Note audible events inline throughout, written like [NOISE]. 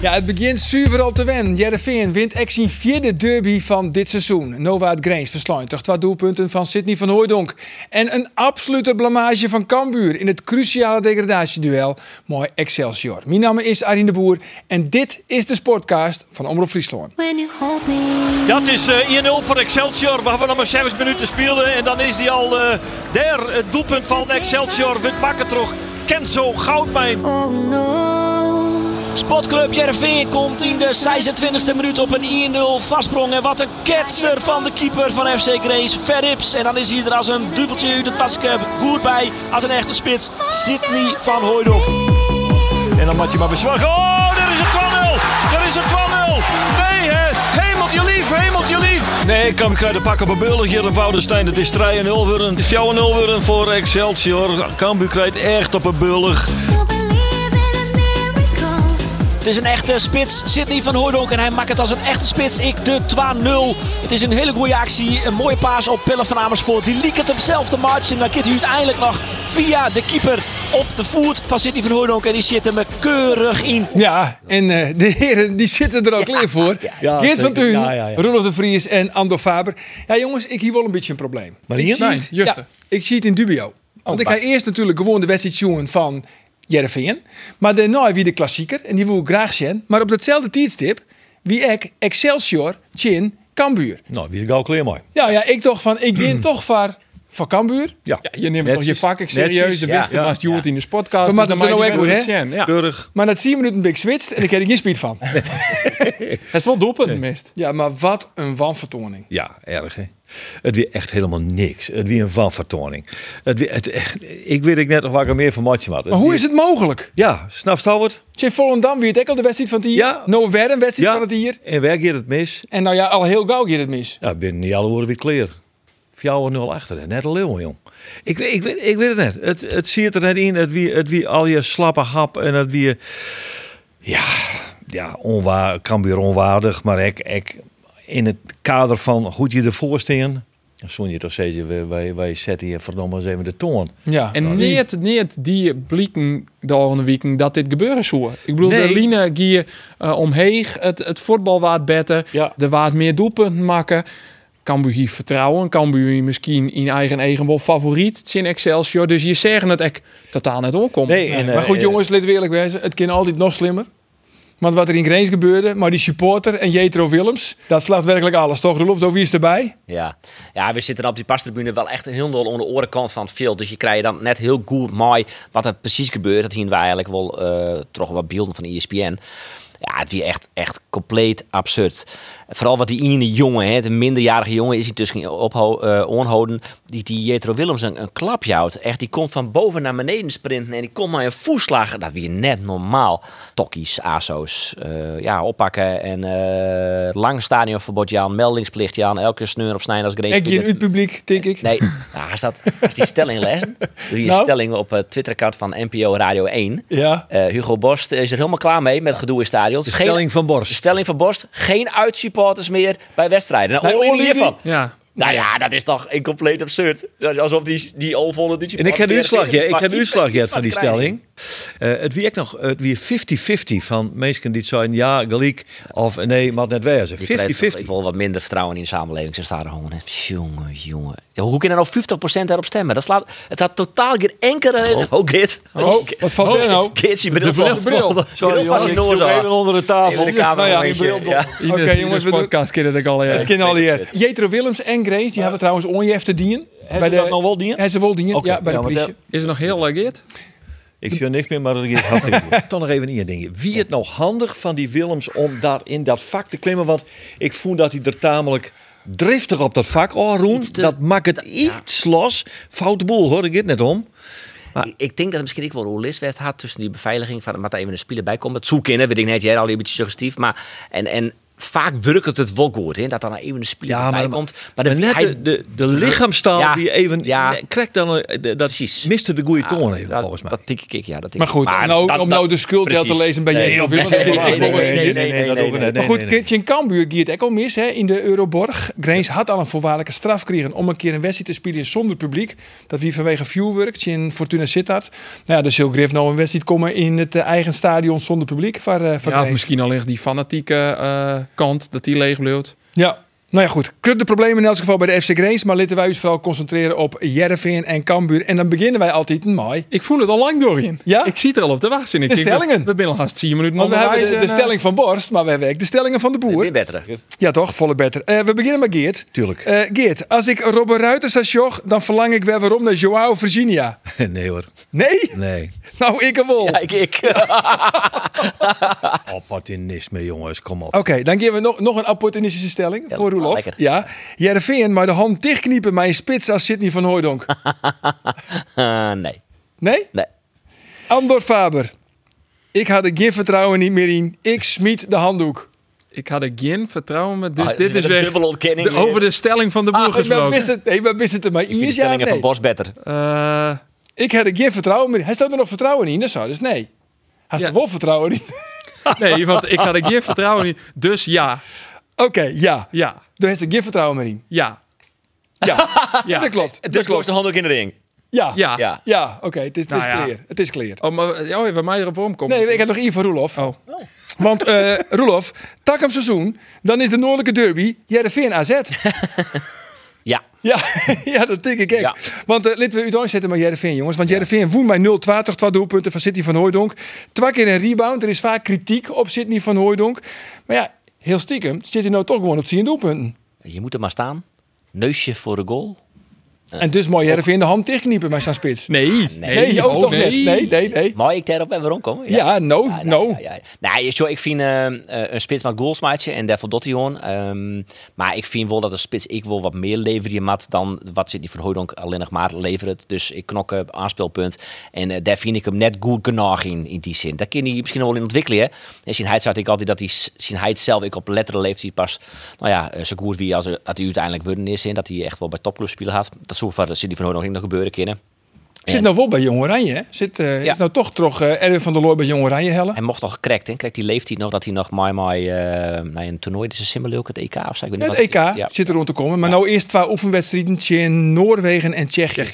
Ja, het begint zuiver al te wennen. Jereveen wint echt zijn vierde derby van dit seizoen. Novaat Grains versluit toch twee doelpunten van Sidney van Hooijdonk. En een absolute blamage van Cambuur in het cruciale degradatieduel. Mooi Excelsior. Mijn naam is Arjen de Boer en dit is de Sportcast van Omroep Friesland. when you hold me. Ja, het is eh, 1-0 voor Excelsior. Waar we nog maar 7 minuten spelen. En dan is die al eh daar. Het doelpunt van Excelsior. Wint Makkertrog. Kenzo Goudmijn. Oh no. Sportclub Jervin komt in de 26e minuut op een 1-0 vastsprong. En wat een ketser van de keeper van FC Grace, Verrips. En dan is hij er als een duveltje uit de taskeb. Goed bij, als een echte spits, Sidney van Hooydonk. En dan moet je maar bezorgen. Oh, daar is het 2-0. Daar is het 2-0. Nee, hè. Hemeltje lief, hemeltje lief. Nee, ik kan ik de pakken op Beulig hier in Woudenstein. Het is 3-0 worden. Het is 4-0 worden voor Excelsior. Cambuur krijgt echt op een Beulig. Don't believe in a miracle. Het is een echte spits, Sidney van Hooydonk. En hij maakt het als een echte spits, ik de 2-0. Het is een hele goede actie, een mooie paas op Pelle van Amersfoort. Die liekt het op zelf de match. En dan kent hij uiteindelijk nog via de keeper op de voet van Sidney van Hooydonk. En die zit hem keurig in. Ja, en eh, de heren die zitten er al klaar voor. [LAUGHS] ja, Geert van zeker. Tuin, Ja, ja, ja. Rudolf de Vries en Ando Faber. Ja, jongens, ik hier wel een beetje een probleem. Maar hier? Oh, ik zie Nee, het, juster. ja, ik zie het in dubio. Want ik ga eerst natuurlijk gewoon de wedstrijd zien van Jereveen. Maar daarna wie de klassieker, en die wil ik graag zien. Maar op datzelfde tijdstip, wie ik Excelsior, Chin, Cambuur. Nou, die is gauw clear mooi. Ja, ja, ik dacht van, ik win toch voor, voor Cambuur. Hmm. Ja. Je neemt toch Netjes. je vak echt serieus. Netjes, De ja. beste Ja. was Stuart in de podcast. We dus moeten dan het maakt er nou die ook mensen het zien. Ja. Keurig. Maar na 10 minuten ben ik switst en ik heb er geen speed van. [LAUGHS] Het is wel doelpunt mist. Ja, maar wat een wanvertoning. Ja, erg hè. Het weer echt helemaal niks. Het weer een vanvertoning. Het weer, het echt, ik weet ik net nog waar ik er meer van matje had. Maar hoe is het mogelijk? Ja, snap je het? Zit Volendam weer het ook al de wedstrijd van het hier? Ja. Nou, weer een wedstrijd Ja. van het hier. En werk je het mis? En nou ja, al heel gauw hier het mis. Ja, binnen niet alle woorden weer clear. Vier 0 achter en net een leeuw, jong. Ik, weet- ik, weet, ik weet het net. Het, het ziet er net in. Het wie, het wie al je slappe hap en het wie. Ja, ja onwaar, kan weer onwaardig. Maar ik, ik, in het kader van goed je ervoor staan. Dan zon je toch steeds, wij, wij, wij zetten hier verdomme eens even de toon. Ja. En niet, niet die blikken de volgende weken dat dit gebeuren zou. Ik bedoel, Nee. de Line ging eh, omheeg, het, het voetbal waard beter, Ja. er waard meer doelpunten maken. Cambuur hier vertrouwen, Cambuur hier misschien in eigen eigen wel favoriet, het is in Excelsior. Dus je zeggen het echt totaal net omkomt. Nee, en, eh, maar goed, eh, jongens, laten we eerlijk wezen. Het kan altijd nog slimmer. Want wat er in Greens gebeurde, maar die supporter en Jetro Willems, dat slaat werkelijk alles, toch? Roelof, door wie is erbij? Ja. ja, we zitten op die pastribune wel echt heel dol onder de orenkant van het veld. Dus je krijgt dan net heel goed mooi wat er precies gebeurt. Dat zien we eigenlijk wel eh toch wat beelden van ESPN. Ja, het is echt, echt compleet absurd. Vooral wat die ene jongen, hè, de minderjarige jongen, is hij dus tussen opho- eh, onhouden. Die, die Jetro Willems een, een klap jouwt. Echt, die komt van boven naar beneden sprinten en die komt maar een voeslag. Dat weer net normaal. Tokkies, ASO's, eh, ja, oppakken. En eh, lang stadionverbod, Jan. Meldingsplicht, Jan. Elke sneur of snijden als Grace. Ik in het publiek, denk ik. Nee, nou, hij staat, hij is die stelling lezen. Doe je Nou? stelling op het Twitter-account van NPO Radio 1. Ja. Eh, Hugo Borst is er helemaal klaar mee met het gedoe in stadions. Geen- stelling van Borst. De stelling van Borst. Geen uitsupporters meer bij wedstrijden. Nou, Nee, oorlog oorlog hiervan. Ja. Nou ja, dat is toch een compleet absurd. Dat is Alsof die, die al volle Duitse En ik heb de uitslag, ja. Ik heb de Iets- uitslag iets gehad van die krijgen. stelling. Eh, het wie ik nog, het wie 50-50 van mensen die zeiden ja, gelijk of nee, mag net wezen. Die krijgt toch- 50-50. Ik wil wat minder vertrouwen in de samenleving. Ze staan er gewoon. hè. Jongen, jongen. Ja, hoe kunnen er nou 50% daarop stemmen? Dat slaat, het had totaal geen enkele. Oh, oh Git. Oh, wat valt er nou? Git, je bril. bril. De bril. Sorry, jongens, ik zoek even onder de tafel. In de kamer. Nou ja, een die beetje. bril. Ja. In Oké, de, jongens, jongens, we in doen- de podcast kennen dat ik al. Het kind al hier. Jetro Willems en Grace, die hebben trouwens onjeft te dienen. Bij dat nog wel dienen? Hebben ze wel dienen, Oké, ja, bij ja, de want, eh, politie. Is het nog heel leuk, Geert? Ik zie niks meer, maar dat ik het had ik [LAUGHS] Toch nog even één ding. Wie het nou handig van die Willems om daar in dat vak te klimmen? Want ik voel dat hij er tamelijk driftig op dat vak oh, roemt. Dat maakt het iets los. Foute boel hoor, ik dit net om. Ik- Ik denk dat het misschien ik wel roelist werd had tussen die beveiliging van wat daar even een speler bij komt. Dat zoeken in, hè, weet ik net. Jij al een beetje suggestief. Maar en, en vaak werkt het het wel goed, hè? dat er dan even een speler Ja, maar- bij komt. Maar, Maar de, net hij- de, de, de lichaamstaal Ja, die even... ja. Ja. Krijgt dan... een- de- dat Precies. miste de goede toon even, dat, volgens mij. Dat tik ik, ik, ja. Dat tik Maar ik. goed, om nou- dat- om dat- nou de schuld precies. te lezen bij Nee, Jeroen joh, Willems, nee, dat nee, kan nee, ook wel. nee, nee, nee, dat nee, ook niet. nee. Maar Nee, goed, nee, nee. Kintje in Kambuur, die het ook al mis hè, in de Euroborg. Greens had al een voorwaardelijke straf gekregen om een keer een wedstrijd te spelen zonder publiek. Dat wie vanwege viewwork in Fortuna Sittard. Nou ja, de Silk Griff nou een wedstrijd komen in het eh, eigen stadion zonder publiek. Voor, eh, voor Ja, of Greens. misschien al ligt die fanatieke eh, kant dat die leeg bleef. Ja, nou ja, goed. Krut de problemen in elk geval bij de FC Grains. Maar laten wij ons vooral concentreren op Jervin en Cambuur. En dan beginnen wij altijd een mooi. Ik voel het al lang doorheen. Ja? Ik zit er al op te wachten. Ik De denk, we- stellingen. We binnen haast 4 minuten Want we hebben de, onderwijs de en, eh, stelling van Borst, maar we hebben ook de stellingen van de boer. Weer beter. Ja toch, volle beter. Eh, we beginnen met Geert. Tuurlijk. Eh, Geert, als ik Robert Ruiters als joch, dan verlang ik weer waarom naar Joao Virginia. nee hoor. Nee? [LAUGHS] [LAUGHS] Nee. Nou, ik hem wel. Ja, ik, ik. Opportunisme, jongens. Kom op. Oké, dan geven we nog, nog een opportunistische stelling voor Roelof. lekker. Ja. Jervin, maar de hand dichtkniepen mijn spits als Sidney van Hooydonk. Eh, nee. Nee? Nee. Andor Faber. Ik had er geen vertrouwen niet meer in. Ik smiet de handdoek. Ik had er geen vertrouwen met, dus Ah, dit is weer een weg. dubbele ontkenning. De- over de stelling van de boer Ik ben gesproken. wist het, nee, maar wist het er maar Ik vind de eens, ja of stellingen van nee? Bos beter. Eh, Ik had er geen vertrouwen meer in. Hij stelt er nog vertrouwen in, dat zou dus nee. Hij Ja. stelt wel vertrouwen in. [LAUGHS] nee, want ik had er geen vertrouwen in. Dus ja, Oké, ja. ja, Daar heeft er geen vertrouwen meer in. ja, Ja, [LAUGHS] ja. dat klopt. Dus Bos de handdoek in de ring. Ja, ja. Ja. Ja. oké, het is, het Nou is ja. clear. Het is clear. Oh, maar oh, waar mij erop omkomen. Nee, ik heb nog Ivo Roelof. Oh. Want eh Roelof, tak hem seizoen, dan is de Noordelijke Derby Jereveen AZ. Ja. Ja, [LAUGHS] ja dat denk ik ook. Ja. Want eh laten we u zetten met Jereveen, jongens. Want Jereveen woon bij 0-20, twee doelpunten van Sidney van Hooijdonk. Twee keer een rebound, er is vaak kritiek op Sidney van Hooijdonk. Maar ja, heel stiekem zit hij nou toch gewoon op 10 doelpunten. Je moet er maar staan. Neusje voor de goal. En dus mooi Jereveen de hand dichtkniepen bij zijn spits. Nee, Nee, Nee, ook oh, toch net. nee. Nee, nee, nee. Mooi ik daarop even rondkomen. Ja, no, Ja, no. ja, ja, ja. Nee, joh, ik vind eh, eh, een spits met goals maatje en daarvoor doet hij gewoon. Ehm, maar ik vind wel dat een spits ik wil wat meer leveren mat dan wat zit die van Hooydonk alleen nog maar levert. Dus ik knok eh, aanspeelpunt en eh, daar vind ik hem net goed genoeg in, in die zin. Daar kan hij misschien nog wel in ontwikkelen. Hè? En zijn hij zat ik altijd dat hij s- zijn hij zelf ik op letteren leeft hij pas nou ja eh, zo goed wie als eh, dat hij uiteindelijk worden is en dat hij echt wel bij topclubs spelen had. Dat zou voor Sidney van Hooydonk nog gebeuren kunnen. Zit nou wel bij Jong Oranje, hè? Zit, eh, Ja. Is nou toch toch eh, Erwin van der Looy bij Jong Oranje hellen? Hij mocht nog gekrekt, hè? Krijgt die leeftijd nog dat hij nog maar maar eh naar een toernooi is een Simmelulk het EK of zo. Ik weet Het niet EK wat- Ja. zit er rond te komen. Maar nou eerst twee oefenwedstrijden in Noorwegen en Tsjechië.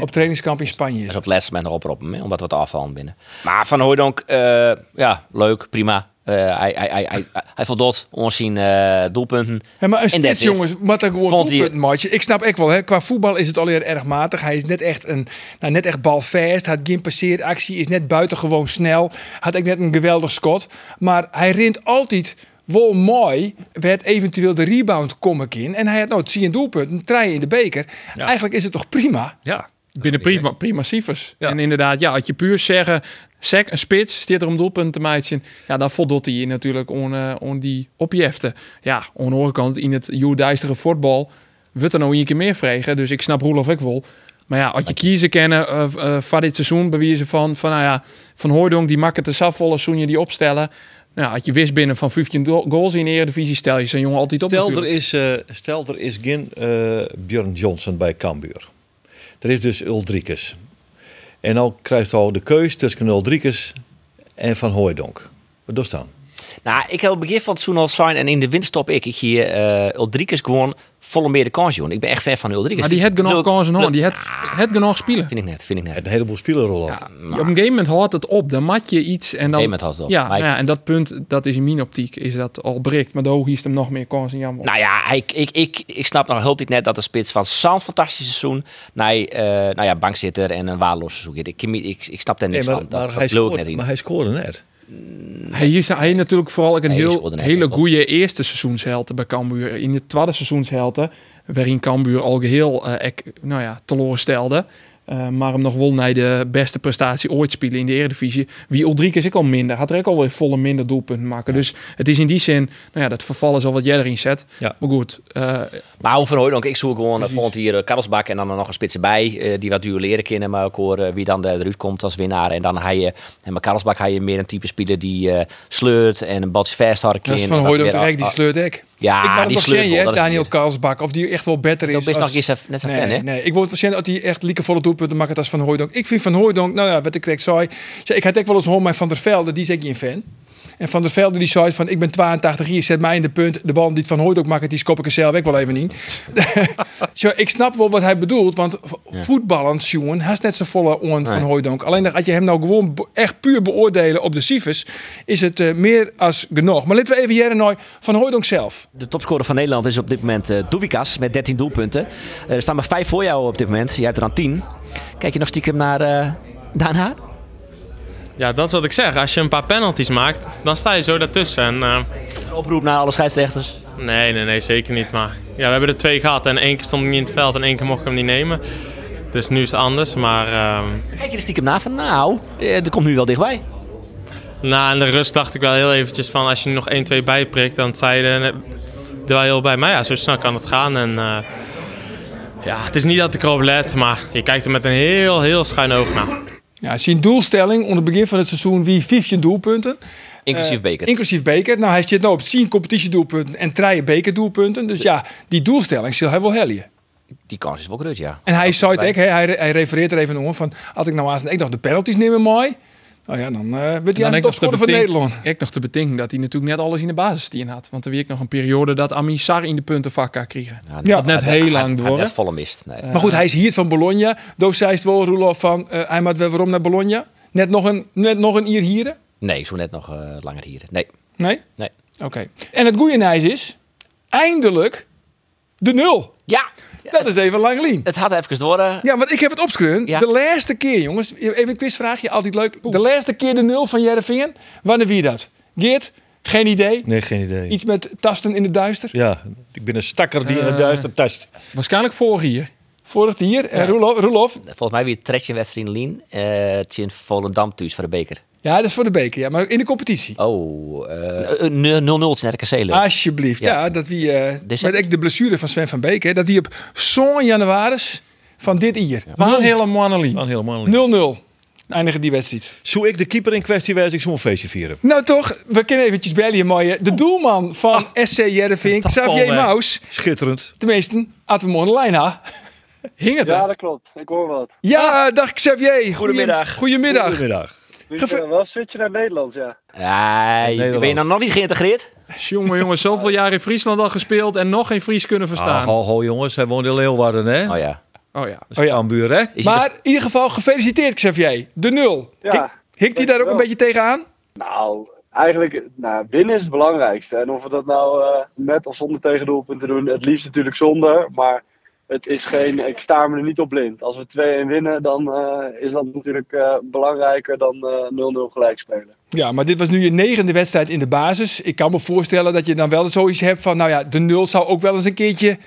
Op trainingskamp in Spanje. Dat is op het laatste moment nog oproepen, hè? omdat we het afvallen binnen. Maar Van Hooydonk, eh, ja, leuk, prima. Eh, hij, hij, hij, hij, hij voldoet onzien eh doelpunten. Ja, maar een En dat spits, is- jongens, wat een gewoon Vond hij- doelpunt, maatje. Ik snap echt wel, hè, qua voetbal is het alweer erg matig. Hij is net echt, een, nou, net echt balvast, had geen passeeractie, is net buitengewoon snel. Had ik net een geweldig schot. Maar hij rint altijd wel mooi, werd eventueel de rebound kom ik in. En hij had nou het zie een doelpunt, een trein in de beker. Eigenlijk is het toch prima? Ja. Binnen prima, prima cijfers. Ja. En inderdaad, ja, als je puur zeggen, sec, een spits, stiert er om doelpunten te maken. Ja, dan voldoet hij natuurlijk on, eh, on die opjeften. Ja, aan de andere kant, in het joerdijstere voetbal wordt er nou een keer meer vregen. Dus ik snap Roelof ik wel. Maar ja, als je kiezen kennen eh, eh, van dit seizoen, bewijzen van, van nou ja, van Hooijdonk die makkelijk te safvolle, zoen je die opstellen. Nou, had je wist binnen van 15 do- goals in de Eredivisie, stel je zo'n jongen altijd op Stel er, natuurlijk. is, eh stel er is geen eh, Björn Johnson bij Cambuur. Er is dus Uldrikus. En dan krijgt al de keus tussen Uldrikus en Van Hooijdonk. Wat doet dan? Nou, ik heb op het begin van het seizoen al zijn en in de winterstop ik. Ik hier eh Uldrikus gewoon volle meer de kans doen. Ik ben echt fan van Uldrikus. Maar die had genoeg Leuk, kansen, hoor. leuk. Nou, die had, had genoeg spelen. Vind ik net, vind ik net. Een heleboel spielerrollen. Ja, op een gegeven moment houdt het op. Dan mat je iets en dan. gegeven moment houdt het op. Ja, Maar nou ik- ja, en dat punt, dat is in mijn optiek, is dat al breekt. Maar daar hiest hem nog meer kans en jammer. op. Nou ja, ik, ik, ik, ik snap nog heel niet net dat de spits van zo'n fantastisch seizoen naar eh, nou ja, bankzitter en een waarloos seizoen gaat. Ik, ken niet- ik, ik snap daar Nee, niks maar, van. maar Dat, hij dat lul ik net scoorde, in. maar hij scoorde net. hij is hij heeft natuurlijk vooral ook een Nee, die heel, scoorde net hele geen goal. goede eerste seizoenshelte bij Cambuur. In de tweede seizoenshelte, waarin Cambuur al geheel eh, ek- nou ja, teleurstelde. eh, maar hem nog wel naar de beste prestatie ooit spelen in de Eredivisie. Wie Ulrike is ik al minder. Had er ook alweer volle minder doelpunten maken. Dus het is in die zin, nou ja, dat verval is al wat jij erin zet. Ja. Maar goed, eh, Maar hoe van Hooydonk, ik zoek gewoon eh, volgend hier eh, Karlsbak en dan er nog een spits bij eh, die wat duelleren kennen. Maar ook hoor eh, wie dan eruit komt als winnaar. En dan ga je, en bij Karlsbak ga je meer een type speler die eh, sleurt en een badje vasthouden kan. Dat is En van dan Hooydonk weer- Ah, terecht, die sleurt ik. Ja, ik wou hem die nog sleurt zien, wel, hè, dat is Daniel weer. Karlsbak. Of die echt wel beter is. Dat is nog als- eens even- net zo nee, fan, hè? Nee, ik word wel zien dat hij echt lieke volle doelpunten maakt als Van Hooydonk. Ik vind Van Hooydonk, nou ja, wat ik kreeg zei. zei, Ik had ook wel eens hoor, maar Van der Velde, die is ik een fan. En Van der Velde die zei van, ik ben 82 hier, zet mij in de punt. De bal die Van Hooydonk maakt, die skop ik er zelf ook wel even [LAUGHS] in. [LAUGHS] Zo, ik snap wel wat hij bedoelt, want voetballend, jongen, hij is net zo volle on van Hooydonk. Alleen dat als je hem nou gewoon be- echt puur beoordelen op de cijfers, is het eh, meer als genoeg. Maar laten we even hier en nou van Hooydonk zelf. De topscorer van Nederland is op dit moment eh Doevikas met 13 doelpunten. Eh, er staan maar 5 voor jou op dit moment. Jij hebt er aan 10. Kijk je nog stiekem naar eh, daarna? Ja, dat is wat ik zeg. Als je een paar penalties maakt, dan sta je zo daartussen. En, eh, Een oproep naar alle scheidsrechters. nee, nee, nee, zeker niet. Maar ja, we hebben er twee gehad en één keer stond ik niet in het veld en één keer mocht ik hem niet nemen. Dus nu is het anders. Maar ehm, Kijk je er stiekem naar van, nou, eh, dat komt nu wel dichtbij. na in de rust dacht ik wel heel eventjes van als je nu nog 1, 2 bijprikt, dan sta je er, er wel heel bij. Maar ja, zo snel kan het gaan. En, eh, ja, het is niet dat ik erop let, maar je kijkt er met een heel, heel schuin oog naar. Ja, zijn doelstelling onder het begin van het seizoen wie 15 doelpunten. Inclusief Eh, Beker. Inclusief beker. Nou, hij zit nou op 10 competitiedoelpunten en 3 bekerdoelpunten. Dus ja, die doelstelling zal hij wel helden. Die kans is wel groot, ja. En hij zei het ook, hè, hij, hij refereert er even om van... had ik nou aan ik nog de penalties nemen mooi... Nou ja, dan eh werd hij aan de ik nog te topscorer van betink- Nederland. Ik nog te betinken dat hij natuurlijk net alles in de basis die in had. Want er week nog een periode dat Amin Sar in de punten vakka kregen. Ja. Dat net heel lang door, hè? Dat volle mist. Nee. Maar goed, hij is hier van Bologna. Doos zei het wel, Roelof, van eh, hij maakt wel waarom naar Bologna. Net nog een, net nog een ier hier. nee, zo net nog eh, langer hier. Nee. Nee? Nee. Oké. En het goede nieuws is, eindelijk de nul. Ja, Dat is even lang lien. het had even door. eh. Ja, want ik heb het opschreven. Ja. De laatste keer, jongens. Even een quizvraagje, altijd leuk. De laatste keer de nul van Jereveen. Wanneer wie dat? Geert, geen idee. Nee, geen idee. Iets met tasten in het duister. Ja, ik ben een stakker die in de duister tast. Waarschijnlijk vorig jaar. Vorig jaar. En Roelof, Roelof. Volgens mij weer Tretje Westrin Lien. eh Tjen Volendam thuis voor de beker. Ja, dat is voor de beker. Ja, maar in de competitie. Oh, eh, eh, 0-0 is RKC leuk. Ah, Alsjeblieft. Ja, dat wie... eh met December. ook de blessure van Sven van Beek. Hè, dat die op zo'n januaris van dit jaar. Van hele Mannelie. Dan helemaal niet. 0-0. Eindigen die wedstrijd. Zou ik de keeper in kwestie wijs, ik zou een feestje vieren. Nou toch, we kunnen eventjes bellen hier, mooie. De doelman van SC Jereveen, Xavier Maus. Schitterend. Tenminste, hadden we morgen lijn ha. Hing het Ja, ja, dat Ah. klopt. Ik hoor wat. ja, dag Xavier. Goedemiddag. Goedemiddag. Goedemiddag. Dus Geve- eh, wel switchen naar Nederlands, ja. Ai, Nederland. ben je nou nog niet geïntegreerd? Jongen, jongen, zoveel jaar in Friesland al gespeeld en nog geen Fries kunnen Ah, verstaan. ho, ho, jongens, hij woont in Leeuwarden, hè? Oh ja. Oh ja. Oh ja, Ambuur, hè? Is Maar in ieder geval gefeliciteerd Xavier. De nul. Ja, Hik- Hikt hij daar ook een dankjewel. beetje tegenaan? Nou, eigenlijk, nou, winnen is het belangrijkste. En of we dat nou eh, met of zonder tegendoelpunten doen, het liefst natuurlijk zonder. Maar het is geen, ik sta me er niet op blind. Als we 2-1 winnen, dan eh, is dat natuurlijk eh, belangrijker dan eh 0-0 gelijk spelen. Ja, maar dit was nu je negende wedstrijd in de basis. Ik kan me voorstellen dat je dan wel zoiets hebt van... nou ja, de nul zou ook wel eens een keertje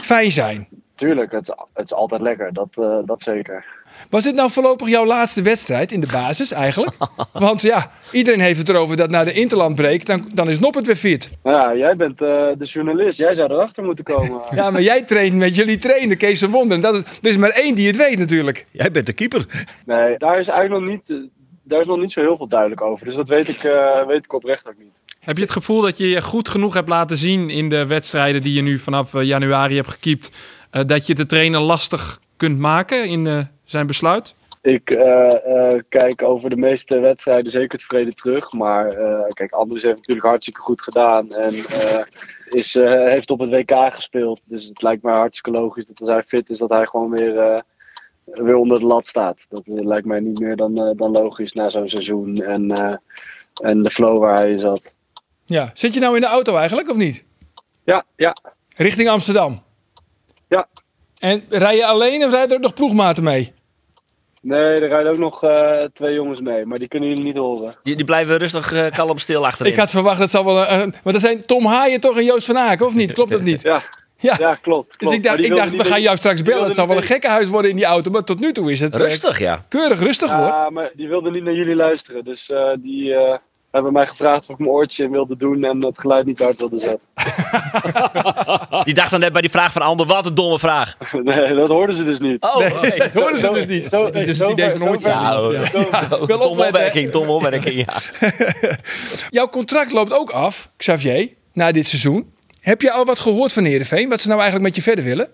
fijn zijn. Tuurlijk, het, is- het is altijd lekker, dat, eh, dat zeker. Was dit nou voorlopig jouw laatste wedstrijd in de basis [LAUGHS] eigenlijk? Want ja, iedereen heeft het erover dat na de interlandbreek... dan, dan is Noppert weer fit. Nou ja, jij bent eh, de journalist, jij zou erachter moeten komen. Ja, maar jij traint met jullie trainer, Kees van Wonderen. Dat, is- er is maar één die het weet natuurlijk. Jij bent de keeper. Nee, daar is eigenlijk nog niet, eh, daar is nog niet zo heel veel duidelijk over. Dus dat weet ik, eh, weet ik oprecht ook niet. Heb je het gevoel dat je je goed genoeg hebt laten zien in de wedstrijden die je nu vanaf eh, januari hebt gekiept, eh, dat je de trainer lastig kunt maken in eh, zijn besluit? Ik eh, eh, kijk over de meeste wedstrijden zeker tevreden terug. Maar eh, kijk, Anders heeft natuurlijk hartstikke goed gedaan. En eh, is, eh, heeft op het WK gespeeld. Dus het lijkt mij hartstikke logisch dat als hij fit is, dat hij gewoon weer, eh, weer onder de lat staat. Dat eh, lijkt mij niet meer dan, eh, dan logisch na zo'n seizoen. En, eh, en de flow waar hij in zat. Ja. Zit je nou in de auto eigenlijk, of niet? Ja, ja, Richting Amsterdam? Ja. En rij je alleen of rijden er ook nog ploegmaten mee? nee, er rijden ook nog eh, twee jongens mee. Maar die kunnen jullie niet horen. Die, die blijven rustig eh, kalm stil achterin. Ik had verwacht dat zal wel een... een- Want dat zijn Tom Haaien toch en Joost van Aken, of niet? Klopt dat niet? Ja, Ja. Ja, klopt. Dus klopt. ik Maar dacht, die ik wilde dacht we niet- gaan jou straks die bellen. Het wilde zou wel een niet- gekkenhuis worden in die auto. Maar tot nu toe is het eh, Rustig, ja. keurig rustig hoor. Ja, maar die wilde niet naar jullie luisteren. Dus eh, die eh, hebben mij gevraagd of ik mijn oortje in wilde doen en het geluid niet hard wilde zetten. Ah. Die dacht dan net bij die vraag van Ander, wat een domme vraag. nee, dat hoorden ze dus niet. Oh, nee. Dat hoorden ze dus niet. Zo, nee, dus het idee zover- van oortje. zover- Ja, oh, Wel ja. domme opletten, hè? opmerking, domme opmerking, ja. Jouw contract loopt ook af, Xavier, na dit seizoen. Heb je al wat gehoord van Heerenveen? Wat ze nou eigenlijk met je verder willen?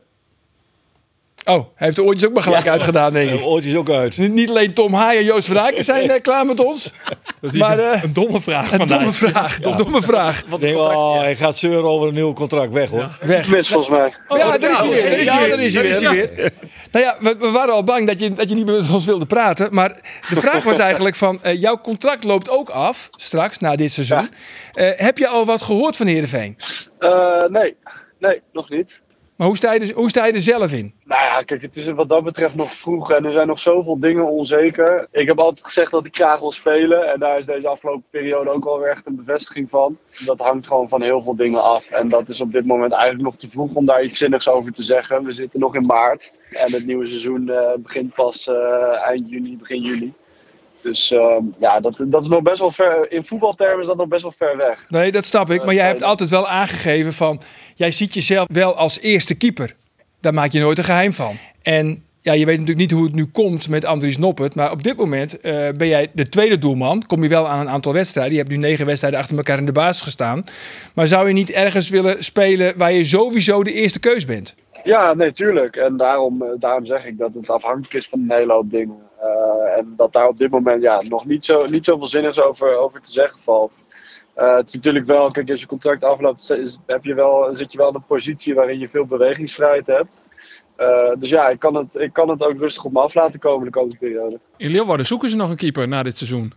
Oh, hij heeft de oortjes ook maar gelijk uitgedaan, denk ik. Ooit is ook uit. Niet- Niet alleen Tom Haaien en Joost Vraken zijn eh, klaar met ons. Dat Maar, eh, een domme vraag Een vandaag. domme vraag. Een domme vraag. Ik denk, oh, hij gaat zeuren over een nieuw contract weg, hoor. Weg. Mis volgens mij. Oh ja, daar is hij weer. Daar is Ja, hij weer. daar is hij Daar is hij weer. Nou ja, we, we waren al bang dat je, dat je niet meer met ons wilde praten. Maar de vraag was eigenlijk van, eh, jouw contract loopt ook af straks, na dit seizoen. Eh, heb je al wat gehoord van Heerenveen? Eh, nee. nee, nog niet. Maar hoe sta je er, hoe sta je er zelf in? Nou ja, kijk, het is wat dat betreft nog vroeg en er zijn nog zoveel dingen onzeker. Ik heb altijd gezegd dat ik graag wil spelen en daar is deze afgelopen periode ook wel weer echt een bevestiging van. Dat hangt gewoon van heel veel dingen af en dat is op dit moment eigenlijk nog te vroeg om daar iets zinnigs over te zeggen. We zitten nog in maart en het nieuwe seizoen eh, begint pas eh, eind juni, begin juli. Dus ehm, ja, dat, dat is nog best wel ver. In voetbaltermen is dat nog best wel ver weg. Nee, dat snap ik. Eh, Maar jij hebt spelen. altijd wel aangegeven van... jij ziet jezelf wel als eerste keeper. Daar maak je nooit een geheim van. En ja, je weet natuurlijk niet hoe het nu komt met Andries Noppert. Maar op dit moment eh, ben jij de tweede doelman. Kom je wel aan een aantal wedstrijden. Je hebt nu negen wedstrijden achter elkaar in de basis gestaan. Maar zou je niet ergens willen spelen... waar je sowieso de eerste keus bent? Ja, nee, tuurlijk. En daarom, eh, daarom zeg ik dat het afhankelijk is van een hele hoop dingen. Eh, en dat daar op dit moment ja, nog niet, zo, niet zoveel zinnigs over, over te zeggen valt. Eh, het is natuurlijk wel, kijk, als je contract afloopt, is- heb je wel, zit je wel in een positie waarin je veel bewegingsvrijheid hebt. Eh, dus ja, ik kan, het, ik kan het ook rustig op me af laten komen de komende periode. In Leeuwarden zoeken ze nog een keeper na dit seizoen.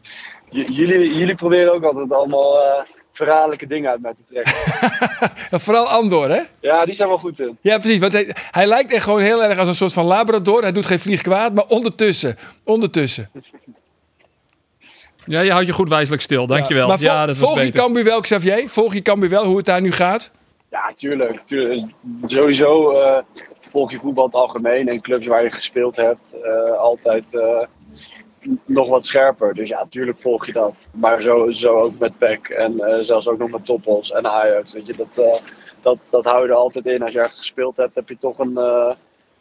J- jullie, jullie proberen ook altijd allemaal eh, verraderlijke dingen uit mij te [LAUGHS] trekken. En vooral Andor, hè? Ja, die zijn wel goed in. Ja, precies. Want hij, hij lijkt echt gewoon heel erg als een soort van labrador. Hij doet geen vlieg kwaad, maar ondertussen. Ondertussen. Ja, je houdt je goed wijselijk stil. Dankjewel. Maar Ja, vol- dat was volg je beter. Cambuur wel, Xavier? Volg je Cambuur wel hoe het daar nu gaat? Ja, tuurlijk. tuurlijk. Sowieso eh, volg je voetbal in het algemeen en clubs waar je gespeeld hebt eh, altijd eh, n- nog wat scherper. Dus ja, tuurlijk volg je dat. Maar zo, zo ook met PEC en eh, zelfs ook nog met Toppels en Ajax. Weet je, dat, eh, dat, dat hou je er altijd in. Als je ergens gespeeld hebt, heb je toch een, eh,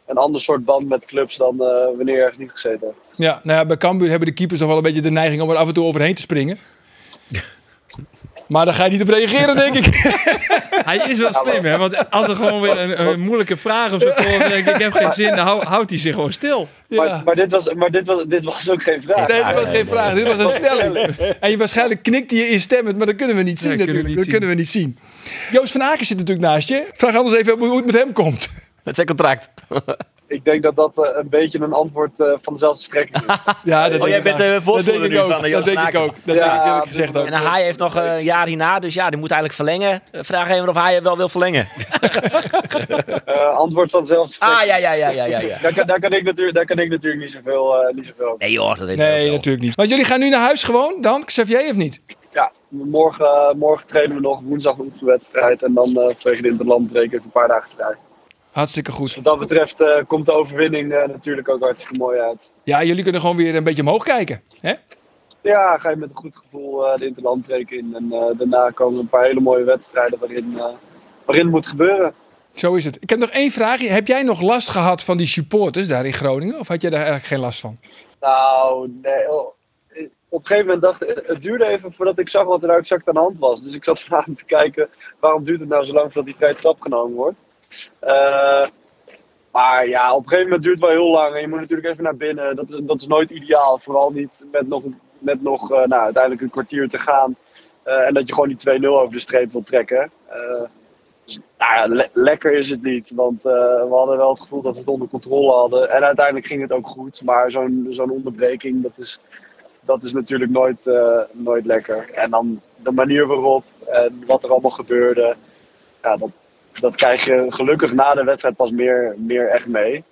een ander soort band met clubs dan eh, wanneer je ergens niet gezeten hebt. Ja, nou ja, bij Cambuur hebben de keepers nog wel een beetje de neiging om er af en toe overheen te [LAUGHS] springen. Maar daar ga je niet op reageren, denk ik. Hij is wel slim, hè? Want als er gewoon weer een, een moeilijke vraag of zo [LAUGHS] komt, dan denk ik, ik heb geen zin, dan hou- houdt hij zich gewoon stil. Ja. [LAUGHS] Maar, maar, dit, was, maar dit, was, dit was ook geen vraag. Nee, dit was geen vraag, dit was [LAUGHS] een stelling. En je, waarschijnlijk knikte je instemmend, maar dat kunnen we niet zien Nee, kunnen we natuurlijk. niet dat zien. kunnen we niet zien. Joost van Aken zit natuurlijk naast je. Vraag anders even hoe het met hem komt. Met zijn contract. Ik denk dat dat eh, een beetje een antwoord eh, van dezelfde strekking is. Ja, dat Oh, jij bent, eh, dat voorstander denk ik nu ook. van, Dat eh, Joost denk van ik ook. Aken. Dat Ja, denk ik eerlijk dus gezegd dat- ook. En Haai heeft nog eh, een jaar hierna, dus ja, die moet eigenlijk verlengen. Eh, Vraag even of Haai wel [LAUGHS] wil verlengen. Eh, antwoord van dezelfde strekking. Ah, ja, ja, ja, ja, ja. ja. Daar kan, daar, kan ik natuurlijk, daar kan ik natuurlijk niet zoveel, eh, niet zoveel over. Nee joh, dat weet ik Nee, ook wel. natuurlijk niet. Want jullie gaan nu naar huis gewoon, dan? Xavier of niet? Ja, morgen, eh, morgen trainen we nog, woensdag een oefenwedstrijd. En dan eh tegen de interlandbreek even een paar dagen vrij. Hartstikke goed. Wat dat betreft eh, komt de overwinning eh, natuurlijk ook hartstikke mooi uit. Ja, jullie kunnen gewoon weer een beetje omhoog kijken. Hè? Ja, ga je met een goed gevoel eh de interlandbreek in. En eh, daarna komen een paar hele mooie wedstrijden waarin, eh, waarin het moet gebeuren. Zo is het. Ik heb nog één vraagje. Heb jij nog last gehad van die supporters daar in Groningen? Of had jij daar eigenlijk geen last van? Nou, nee. oh, eh, Op een gegeven moment dacht ik, eh, het duurde even voordat ik zag wat er nou exact aan de hand was. Dus ik zat [LAUGHS] vanavond te kijken, waarom duurt het nou zo lang voordat die vrije trap genomen wordt? Eh, maar ja, op een gegeven moment duurt het wel heel lang en je moet natuurlijk even naar binnen. Dat is, dat is nooit ideaal, vooral niet met nog, met nog eh, nou, uiteindelijk een kwartier te gaan. Eh, en dat je gewoon die 2-0 over de streep wil trekken. Eh, dus, nou ja, le- lekker is het niet, want eh, we hadden wel het gevoel dat we het onder controle hadden. En uiteindelijk ging het ook goed, maar zo'n zo'n onderbreking, dat is, dat is natuurlijk nooit, eh, nooit lekker. En dan de manier waarop en wat er allemaal gebeurde, ja, dat, dat krijg je gelukkig na de wedstrijd pas meer, meer echt mee.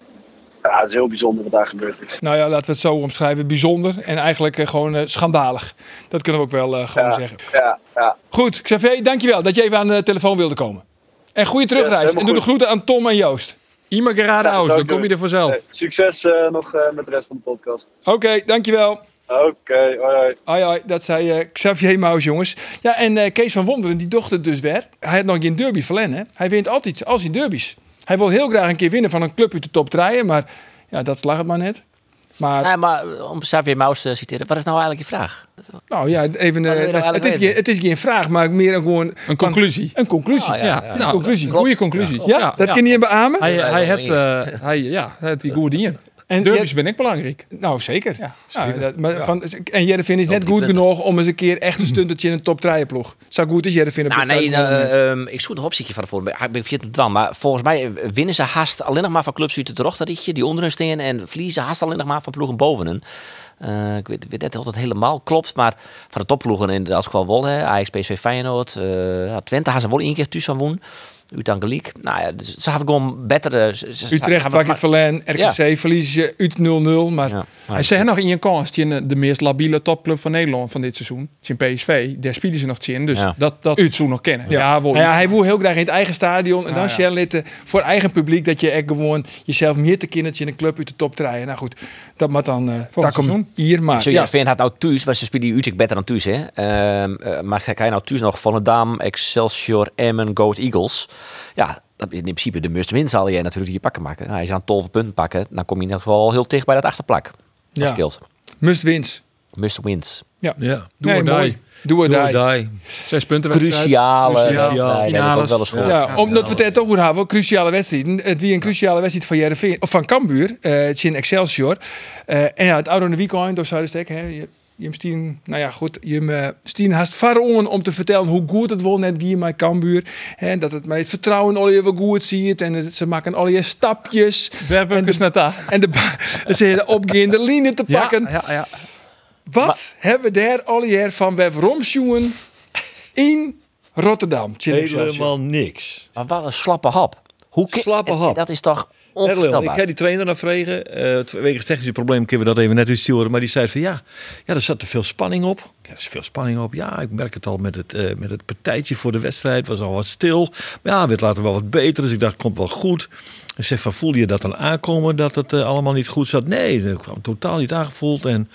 Ja, het is heel bijzonder wat daar gebeurd is. Nou ja, laten we het zo omschrijven. Bijzonder en eigenlijk eh, gewoon eh, schandalig. Dat kunnen we ook wel eh, gewoon Ja, zeggen. ja, ja. Goed, Xavier, dankjewel dat je even aan de telefoon wilde komen. En goede terugreis. helemaal en doe de goed. groeten aan Tom en Joost. Ima Gerade Ja, Aus, zou dan ik kom je doen. er vanzelf. Hey, succes eh, nog eh, met de rest van de podcast. Oké, dankjewel. Oké, hoi hoi. Ai, ai, dat zei eh, Xavier Maus, jongens. Ja, en eh, Kees van Wonderen, die dochter dus weer. Hij had nog geen derby verlen, hè. Hij wint altijd, als hij derbies. Hij wil heel graag een keer winnen van een club uit de top 3, maar ja, dat slag het maar net. Maar, Nee, maar eh, om Xavier Maus te citeren, wat is nou eigenlijk je vraag? nou ja, even... eh, wil je nou het, eigenlijk is geen, weten? het is geen vraag, maar meer een gewoon... Een conclusie. Een conclusie. Ah, ja, ja, Ja, ja, nou, conclusie. een goede conclusie. Ja, dat ja. kan je beamen. Hij, Ja, hij dat heeft, is. eh, hij, ja, [LAUGHS] hij heeft die goede dingen. en Derbies ben ik belangrijk. Nou, zeker. Ja, dat, maar Ja. Van, en Jervin is net drie goed punten. genoeg om eens een keer echt een stuntertje in een top 3 ploeg. Zo goed is Jervin op Nou, dit nee, moment. eh, ehm, ik zoek nog opzichtje van de voorbeeld. Ik ben verkeerd dwan, maar volgens mij eh, winnen ze haast alleen nog maar van clubs uit het Rochterrietje, die onder hun staan. En verliezen haast alleen nog maar van ploegen boven hun. Eh, ik weet, weet net of dat helemaal klopt, maar van de topploegen in dat geval wel. Hè, Ajax, PSV, Feyenoord, eh, ja, Twente haast ze wel één keer thuis van woen. Utangeliek. Nou ja, dus ze hebben gewoon betere... ze- ze- Utrecht, ze- ze- Wakker Verlen, RKC verliezen ze uit 0-0. Maar Ja, maar- Hij zei nog in je kans, tegen de meest labiele topclub van Nederland van dit seizoen. Zijn PSV, daar spelen ze nog in. Dus Ja. dat, dat Utrecht nog kennen. Ja, wel. Nou ja, hij wil heel graag in het eigen stadion. En dan Ah, ja. Shell litten voor eigen publiek. Dat je echt gewoon jezelf meer te kindertje in een club uit de top draaien. Nou goed, dat mag dan eh dat komt seizoen. hier maar. Zo, Ah, Ja. ja. Veen had nou thuis, maar ze spelen die Utrecht beter dan thuis. Hè? Ehm, eh, maar ze krijgen nou thuis nog Volendam, Excelsior, Emmen, Goat Eagles. Ja, dat is in principe de must win zal je natuurlijk hier pakken maken. Nou, als je aan 12 punten pakken, dan kom je in ieder geval al heel dicht bij dat achterplak. Dat Ja. scheelt. Must wins. Must wins. Ja. Doe Nee, or die. mooi. Doe Doe het daar. die. Zes punten wedstrijd. Cruciale Cruciaal. wedstrijden heb ik ook Finales. wel eens gehoord. Ja, omdat we het net ook goed hadden. Cruciale wedstrijden. Het wie een cruciale wedstrijd van Jereveen, of van Cambuur. eh het is in Excelsior. Eh, en ja, het oude aan de weekend door Zuiderstek. hè, Je je hem stien, nou ja, goed. Je hem eh, stien haast varon om te vertellen hoe goed het wel net ging met Cambuur. En dat het met het vertrouwen al je wel goed ziet. En het- ze maken al je stapjes. En de- Werpkens net daar. En de, ba- [LAUGHS] ze hebben de opgaande lijnen te pakken. Ja, ja, ja. Wat hebben we daar al jaar van Wef Romsjoen in Rotterdam? Tjin Excelsior. Helemaal niks. Maar wat een slappe hap. Hoe ki- Slappe en- hap. Dat is toch Erleon, ik onvoorstelbaar. ga die trainer naar vregen. Eh wegens technische problemen kunnen we dat even net uitsturen. Maar die zei van ja, ja, er zat te veel spanning op. Ja, er is veel spanning op. Ja, ik merk het al met het, eh, met het partijtje voor de wedstrijd. was al wat stil. Maar ja, werd later wel wat beter. Dus ik dacht, komt wel goed. Ik zeg van, voelde je dat dan aankomen dat het eh, allemaal niet goed zat? Nee, dat kwam totaal niet aangevoeld. En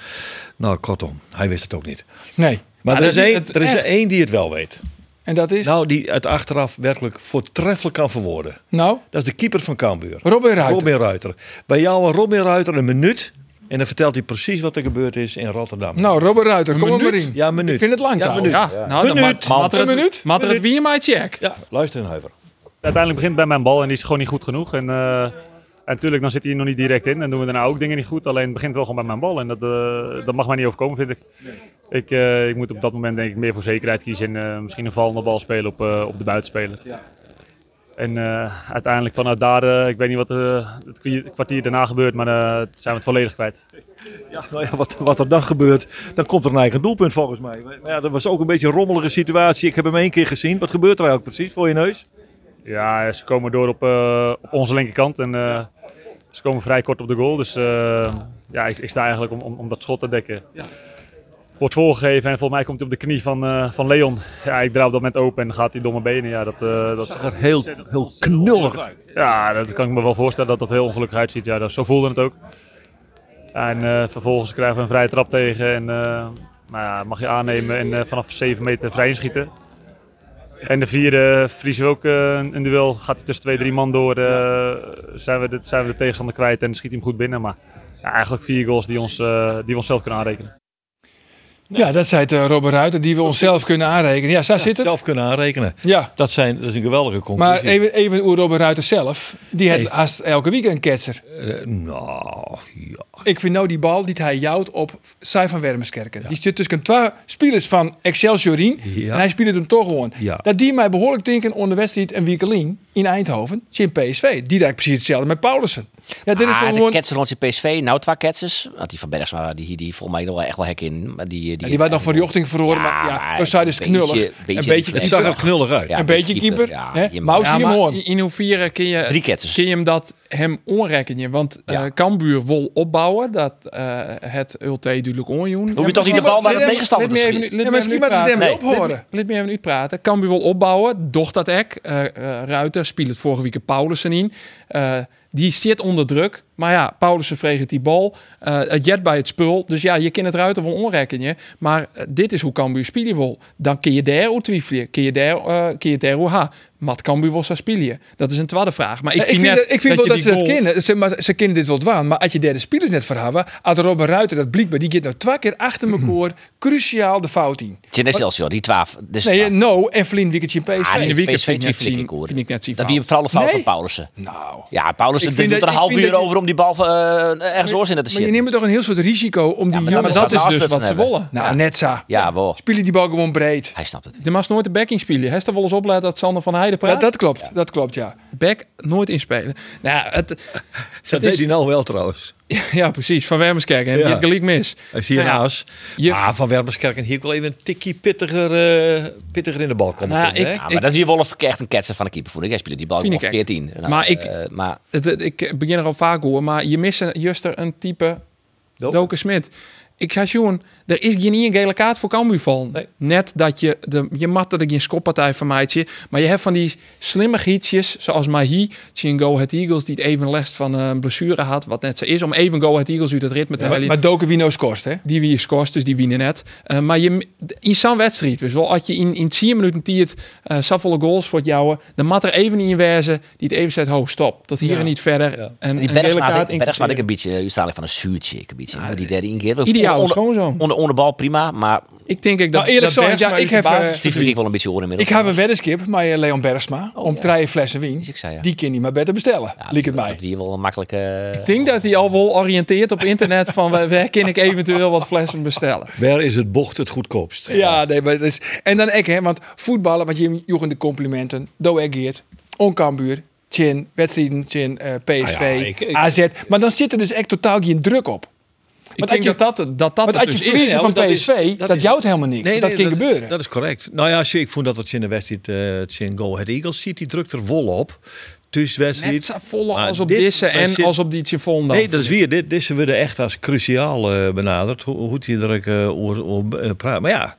nou, kortom, hij wist het ook niet. Nee. Ah, Maar Maar er, dat is is één, het er is echt. er één die het wel weet. En dat is? Nou, Nou, die het achteraf werkelijk voortreffelijk kan verwoorden. Dat is de keeper van Cambuur. nou, Robin Ruiter. Robin Ruiter. Bij jou een Robin Ruiter een minuut. En dan vertelt hij precies wat er gebeurd is in Rotterdam. Nou, Robert Ruiter, kom er maar minuut? in. ja, een minuut. Ik vind het lang ja, een trouwens. minuut. Ja, nou, dan Minuut. maakt- maakt er Een het- minuut? Maakt er het weer maar check. Ja, luister in Huiver. uiteindelijk begint het bij mijn bal en die is gewoon niet goed genoeg. En, eh, en natuurlijk, dan zit hij er nog niet direct in. En doen we daarna ook dingen niet goed. Alleen het begint wel gewoon bij mijn bal. En dat, eh, dat mag mij niet overkomen, vind ik. Ik, eh, ik moet op dat moment denk ik meer voor zekerheid kiezen. En eh, misschien een vallende bal spelen op, eh, op de buitenspeler. En eh, uiteindelijk vanuit daar, eh, ik weet niet wat eh, het kwi- kwartier daarna gebeurt, maar eh, zijn we het volledig kwijt. Ja, nou ja, wat, wat er dan gebeurt, dan komt er een eigen doelpunt volgens mij. Maar ja, dat was ook een beetje een rommelige situatie. Ik heb hem één keer gezien. Wat gebeurt er eigenlijk precies voor je neus? Ja, ze komen door op, eh, op onze linkerkant en eh, ze komen vrij kort op de goal. Dus eh, ja, ik, ik sta eigenlijk om, om, om dat schot te dekken. Wordt voorgegeven en volgens mij komt hij op de knie van, eh, van Leon. Ja, ik draai op dat moment open en dan gaat hij door mijn benen. Ja, dat, eh, dat, Er heel, heel knullig. ja, dat kan ik me wel voorstellen dat dat heel ongelukkig uitziet. Ja, dat, zo voelde het ook. En eh, vervolgens krijgen we een vrije trap tegen en eh, nou ja, mag je aannemen en eh, vanaf 7 meter vrij inschieten. En de vierde vriezen we ook eh, een een duel. Gaat hij tussen twee, drie man door, eh, zijn, we de, zijn we de tegenstander kwijt en schiet hij hem goed binnen. Maar ja, eigenlijk vier goals die, ons, eh, die we onszelf kunnen aanrekenen. Ja, dat zei het, eh, Robert Ruiter, die we onszelf kunnen aanrekenen. Ja, zo zit het. Zelf kunnen aanrekenen. Ja. Dat, zijn, dat is een geweldige conclusie. Maar even, even over Robert Ruiter zelf. Die heeft haast elke week een ketser. Eh, nou, ja. Ik vind nou die bal die hij jouwt op Sai van Wermerskerken. Die zit tussen twee spelers van Excelsiorin. Ja. En hij speelt hem toch gewoon. Ja. Dat die mij behoorlijk denken onder de wedstrijd en Wiekelien in Eindhoven. Jim PSV. Die deed precies hetzelfde met Paulussen. Ja, dit is ah, toch de gewoon... ketser rond je PSV, nou twee ketsers. Want die van Bergsma, die, die volgens mij nog wel echt wel hek in. Maar die, Ja, die werd nog voor de ochtend verhoren. Maar ja, we zijn dus een beetje- knullig. beetje een beetje die het zag er keeper. knullig uit. Ja, Een beetje keeper. Ja, hè? je- Mous Ja, hier hem maar hoorn. in hoeverre kun je, Drie ketsers. kun je hem dat hem onrekken. Want eh Cambuur wil opbouwen. Dat eh, het ULT duidelijk onjoen. Hoef je toch niet de bal bij de tegenstander te schieten? Ja, misschien maar het praten. hem Nee. ophoren. Laat me even uitpraten. Cambuur wil opbouwen. Doch dat ek. Eh eh, Ruiter speelt het vorige week Paulussen in. Eh, die zit onder druk. Maar ja, Paulussen vreegt die bal. Eh, het jet bij het spul. Dus ja, je kan het Ruiter wel onrekken. Je. Maar eh, dit is hoe Cambuur spelen wil. Dan kun je daar hoe twijfelen. Kun je daar, eh, kun je daar hoe ha. Mat Cambuur wil zo spelen. Dat is een tweede vraag. Maar ik, Eh, Ik vind, net dat, ik vind wel je dat die ze dat goal- kennen. Ze, maar ze kennen dit wel dwaan. Maar als je derde spelers net verhaven, had Robin Ruiter dat blijkbaar, die gaat nou twee keer achter elkaar cruciaal de fout in. Het is in Excelsior, die 12. Dus Nee, eh, dat no en Vlien Wikkertje in PSV. Ah, In de nee. weekend PSV vind ik net vind ik zien. ook, hoor. Vind ik net zien. dat die vooral een fout Nee. van Paulussen. Nou. Ja, Paulussen Ik vind dit dat- doet er een ik half vind uur dat je- over om die bal eh, ergens oors in te Maar je zitten. neemt toch een heel soort risico om die jongens... maar Maar dat dat we is dus afspitsen wat ze hebben. willen. Nou, Netza. Ja, wel. Spelen die bal gewoon breed. Hij snapt het. Er mag nooit de back inspelen. Hest er wel eens opletten dat Sander van Heijden praat? Dat, dat klopt, dat klopt, ja. back nooit inspelen. Nou, ja, het, [LAUGHS] Dat is- deed hij nou wel trouwens. ja precies. Van Wermerskerk en Ja. dit gelijk mis. Hij zie je Nou ja, naast. je- Ah, van Wermerskerk en hier wel even een tikkie pittiger, eh, pittiger in de bal komen. Nou, kunnen, ik- hè? Ja, maar dat is hier Wolf echt een ketser van de keeper, vond ik. Hij speelde die bal Vind gewoon ik echt. verkeerd in. Nou, Maar ik- eh, maar Het, het- ik begin er al vaak over, maar je mist een- juster een type Doken. Doken Smit. Ik zei, Sjoen, er is geen één gele kaart voor Cambuur vallen. Nee. Net dat je, de, je mat dat ik geen skoppartij van maatje, maar je hebt van die slimme gietjes, zoals Mahi, zien Go Ahead Eagles, die het even last van eh, een blessure had, wat net zo is, om even Go Ahead Eagles uit het ritme te Maar, halen. maar Doken Wino's kost, hè? die wie je scores, dus die winnen net. Eh, maar je, in zo'n wedstrijd, dus wel, als je in, in 10 minuten die het eh zoveel goals voor het jouwe, dan mat er even in wezen die het even zegt, ho, stop, tot hier en niet verder. En die een gele Bergsma had kaart ik- Bergsma had ik incasseren. een beetje eh, uitstraling van een zuurtje. Ik een beetje, maar die Ah, derde inkeer. Ideaal, onder, schoon zo. onder, onder bal prima, maar Ik denk ik dat, Nou, eerlijk dat gezegd, ja, Bergsma ik uit de heb, basis eh, die vind ik verdient. wel een beetje horen Ik inmiddels. heb een weddenskip met eh, Leon Bergsma om ja. drie flessen wien. Dus ik zei, ja. Die kan hij maar beter bestellen, Ja, liek het die- mij. Die wel eh, een makkelijke... Ik denk dat hij al wel oriënteert op internet van waar, waar kan ik eventueel wat flessen bestellen. Waar is het bocht het goedkoopst? Ja, nee, maar dat is... En dan ik, hè, want voetballen, want je joegen de complimenten. Doe ik Geert, Onkambuur, Chin, wedstrijden, Chin, eh, PSV, Ah ja, ik- ik- AZ. Maar dan zit er dus echt totaal geen druk op. Ik als denk je- dat dat, dat, dat Want het als je dus is. verliest Ja, van want dat is- PSV, dat, dat is- jouwt helemaal niks. dat kan gebeuren. Dat is correct. Nou ja, zie- ik vond dat wat je in de wedstrijd, eh het in Go Ahead Eagles ziet, die drukt er vol op. Dus wedstrijd. Net zo volle Maar als op dit- deze en maar zit- als op die Tjevon dan. Nee, dat is weer. Dit, dit we er echt als cruciaal eh, benaderd. Hoe, hoe die druk eh over, over, eh, praat. Maar ja,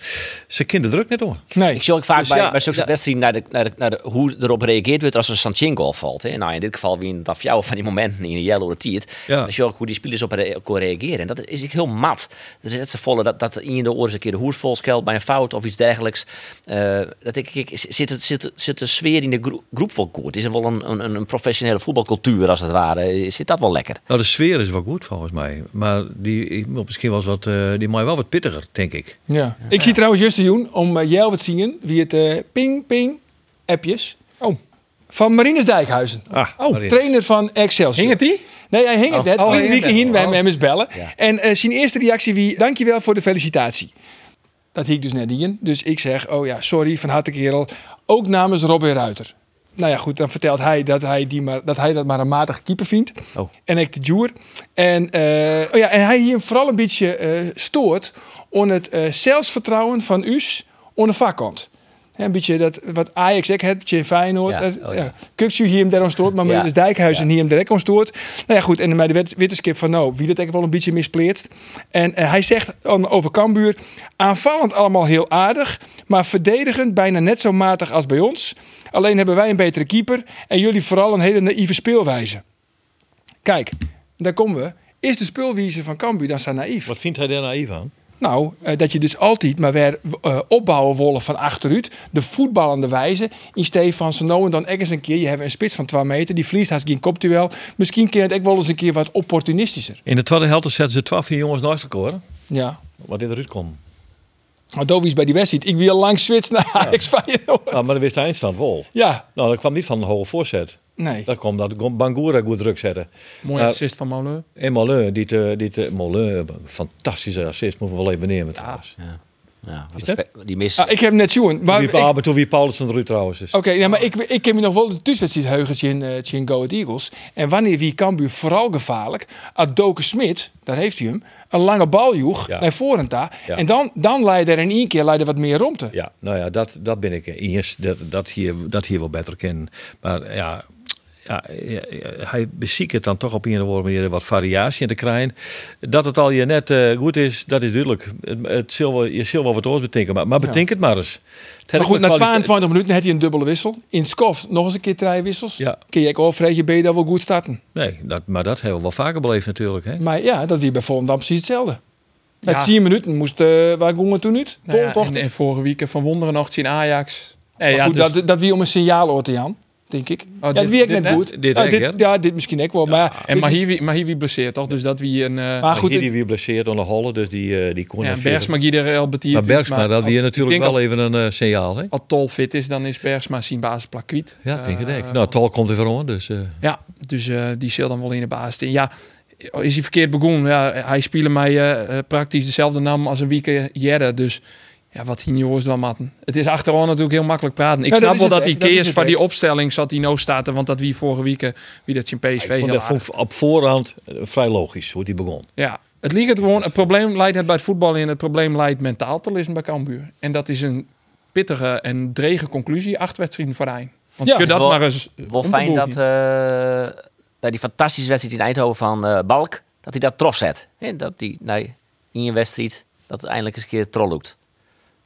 ze kinderen druk net hoor. Nee. Ik zie ook vaak Dus bij, ja, bij zulke soort wedstrijden naar de, naar de, naar de, hoe erop reageerd wordt als er een Sanchingo valt. Hè. Nou, in dit geval wie een Dafjouw van die momenten in de yellow tiert. Ja. Dan zie je ook hoe die spelers op re- op reageren. En dat is ik heel mat. Dat is net zo volle dat, dat in de oren eens een keer de hoer vol scheldt bij een fout of iets dergelijks. Eh, dat ik, ik, zit, het- zit, zit de sfeer in de gro- groep wel goed? Is er wel een, een, een professionele voetbalcultuur als het ware? Zit dat wel lekker? Nou, de sfeer is wel goed volgens mij. Maar die, ik- misschien was wat, eh die maai wel wat pittiger, denk ik. Ja. Ik zie trouwens Justin Joen om eh, jou wat zien wie het eh, ping ping appjes. Oh. Van Marines Dijkhuizen. Ah, Oh, Marines. trainer van Excelsior. Hing het die? Nee, hij hing het net. oh, Vlieg hing het week net. heen, wij hem eens bellen. Ja. En eh, zijn eerste reactie wie, dankjewel voor de felicitatie. Dat hiek dus net in. Dus ik zeg, oh ja, sorry, van harte kerel. Ook namens Robin Ruiter. Nou ja, goed, dan vertelt hij dat hij, die maar, dat, hij dat maar een matige keeper vindt. Oh. En ik de Joer. En, eh, oh ja, en hij hier vooral een beetje eh, stoort aan het eh, zelfvertrouwen van Us aan de vakkant. Hè, Een beetje dat wat Ajax ook had, Jay Feyenoord. Ja, eh, oh ja. ja. Kuksu hier hem daarom stoort, maar Ja. Melis Dijkhuizen hier hem direct om stoort. Nou ja, goed, en bij de wet- witte skip van nou, wie dat eigenlijk wel een beetje mispleert. En eh, hij zegt aan- over Cambuur, aanvallend allemaal heel aardig, maar verdedigend bijna net zo matig als bij ons. Alleen hebben wij een betere keeper en jullie vooral een hele naïeve speelwijze. Kijk, daar komen we. Is de speelwijze van Cambuur dan zo naïef? Wat vindt hij daar naïef aan? Nou, eh, dat je dus altijd maar weer eh, opbouwen wollen van achteruit. De voetballende wijze. In steeds van ze nou en dan ergens een keer. Je hebt een spits van 2 meter. Die verliest haast geen kopduel. Misschien kan het ook wel eens een keer wat opportunistischer. In de tweede helft zetten ze twaalf jongens naast elkaar. hè, Ja. Wat in de ruit komt. Maar Dovi is bij die wedstrijd. Ik wil lang switchen naar Ajax Feyenoord. Nou, maar dan wist de eindstand wel. Ja, Nou, dat kwam niet van een hoge voorzet. nee. Dat kwam dat Bangura goed druk zetten. Mooi Nou, assist van Molen. En Molleur, die, te- die te- Molleur, fantastische assist, moeten we wel even nemen trouwens. Ja, wat Is een dat? spe- die missen. Ah, ik heb net zoen. Maar Toen ik- wie, Oké, maar toen wie Paulus eruit trouwens is. ja, maar ik, ik ken me nog wel de tussenwedstrijd heugentje in, eh, in Go Ahead Eagles. En wanneer wie Cambuur vooral gevaarlijk. Adoke Smit, daar heeft hij hem. Een lange bal joeg Ja. naar voren daar. Ja. En dan, dan leidde er in één keer leidde wat meer romte. Ja, nou ja, dat, dat ben ik eens. Dat, dat, hier, dat hier wel beter kennen. Maar ja, ja, ja, ja, hij beziekt het dan toch op een of andere manier wat variatie in te krijgen. Dat het al je net eh, goed is, dat is duidelijk. Het, het zal wel, je zult wel wat oors betekenen, maar, maar betekent het maar eens. Het Maar had goed, ook met na kwaliteit- 22 minuten had hij een dubbele wissel. In Skof nog eens een keer drie wissels. Ja. Kun je ook al Freetje B daar wel goed starten. Nee, dat, maar dat hebben we wel vaker beleefd natuurlijk. Hè? Maar ja, dat die bij Volendam precies hetzelfde. Na Ja. 10 minuten moest, eh waar gingen toen uit? Nou ja, Bol, toch? en, en vorige week van Wonderen nog zien Ajax. Nee, Maar ja, goed, dus- Oh, dat, dat wie om een signaal hoort, Jan. Denk ik. ja, dat dit- wie ik dit net net? goed. Dit ja, ook, dit, hè? ja, dit misschien ik wel. Maar, ja, en ik- Mahiwi, Mahiwi blesseert toch? Dus dat wie een... eh maar Maar goed, goed, het- die weer blesseerd onder Holle, dus die, eh die kon ja, naar veertig. Bergsma die er al betiert. Maar Bergsma, dat als- weer ik natuurlijk denk wel even een eh, signaal. Hè? Als Tol fit is, dan is Bergsma zijn basisplak kwijt. Ja, denk ik. Eh, denk. nou, Tal komt er weer om, dus... eh, Ja, dus eh, die zal dan wel in de baas in. Ja, is hij verkeerd begonnen? Ja, hij speelde mij eh, eh, praktisch dezelfde naam als een week jaren. Dus ja, wat hij jongens dan matten. Het is achteraan natuurlijk heel makkelijk praten. Ik Ja, dat snap is wel het dat hij echt, dat is keers het van die echt. opstelling zat die nou staat. er, Want dat wie vorige week, eh, wie dat zijn PSV Ah, Ik vond heel dat aardig. vond ik op voorhand eh, vrij logisch hoe die begon. Ja, het liep het gewoon. Het probleem leidt het bij het voetbal in. Het probleem leidt mentaal te lissen bij Cambuur. En dat is een pittige en drege conclusie. Acht wedstrijden voor één. Want Ja. je dat Wel- maar eens. Wel om te fijn dat boeken. eh, bij die fantastische wedstrijd in Eindhoven van eh, Balk, dat hij dat trots zet. En dat die nee, in je wedstrijd dat het eindelijk eens een keer trots loopt.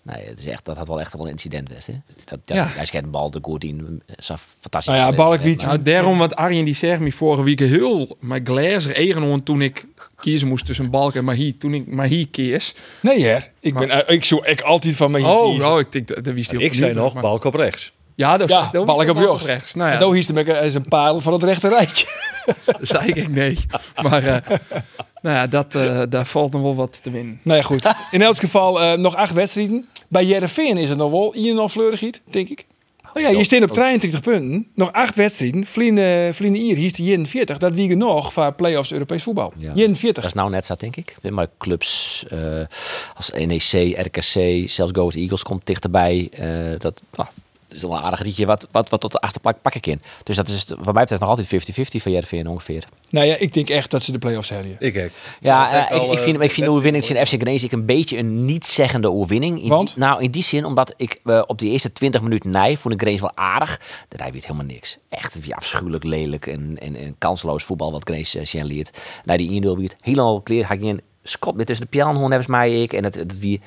Nee, het is echt, dat had wel echt wel een incident best. Hè? Dat, dat, Ja. Hij schijnt een bal de goed in. eh, Zo'n fantastisch. nou ja, Balkwiet. Nou, daarom wat Arjen die zegt me vorige week heel mijn glazer egenoorn toen ik kiezen moest tussen Balk en Mahi. Toen ik Mahi kies. Nee, hè? Ik, ben, eh, ik zoek ik altijd van mijn Oh, oh, ik denk dat, dat wist hij ook Ik zei niet, nog, maar- balk op rechts. Ja, dat Ja, dat wist Balk hij op wel rechts. Nou ja, En toen hiest hem ik, eh, is een parel van het rechte rijtje. [LAUGHS] dat zei ik nee. [LAUGHS] Maar eh, nou ja, dat, eh, daar valt nog wel wat te winnen. Nou ja, goed. In elk geval eh, nog acht wedstrijden. Bij Jereveen is het nog wel Ian of Fleurigiet, denk ik. Oh ja, je staat op 33 punten. Nog acht wedstrijden. Vliegen vliegen hier, hier is de 41. Dat wiegen nog voor play-offs Europees voetbal. Ja. 41. Dat is nou net zo, denk ik. Maar clubs eh, als NEC, RKC, zelfs Go Ahead Eagles komt dichterbij. Eh, dat nou, dat is wel een aardig rietje wat, wat, wat tot de achterplak pak ik in. Dus dat is het, wat mij betreft nog altijd 50-50 van Jervin ongeveer. Nou ja, ik denk echt dat ze de play-offs hebben. hier. Ik ook. Ja, Dat eh, ik, al, ik eh, vind, ik vind de overwinning in FC Genees ik een beetje een niet-zeggende overwinning. In Want? Die, nou, in die zin, omdat ik eh, op die eerste 20 minuten nij vond ik Grace wel aardig. Daarna weer helemaal niks. Echt weer afschuwelijk lelijk en, en, en kansloos voetbal wat Grace uh, Shen liet. Na die 1-0 weer helemaal clear. Ga ik in Scott met tussen de pianohoorn hebben mij ik. En dat, dat wie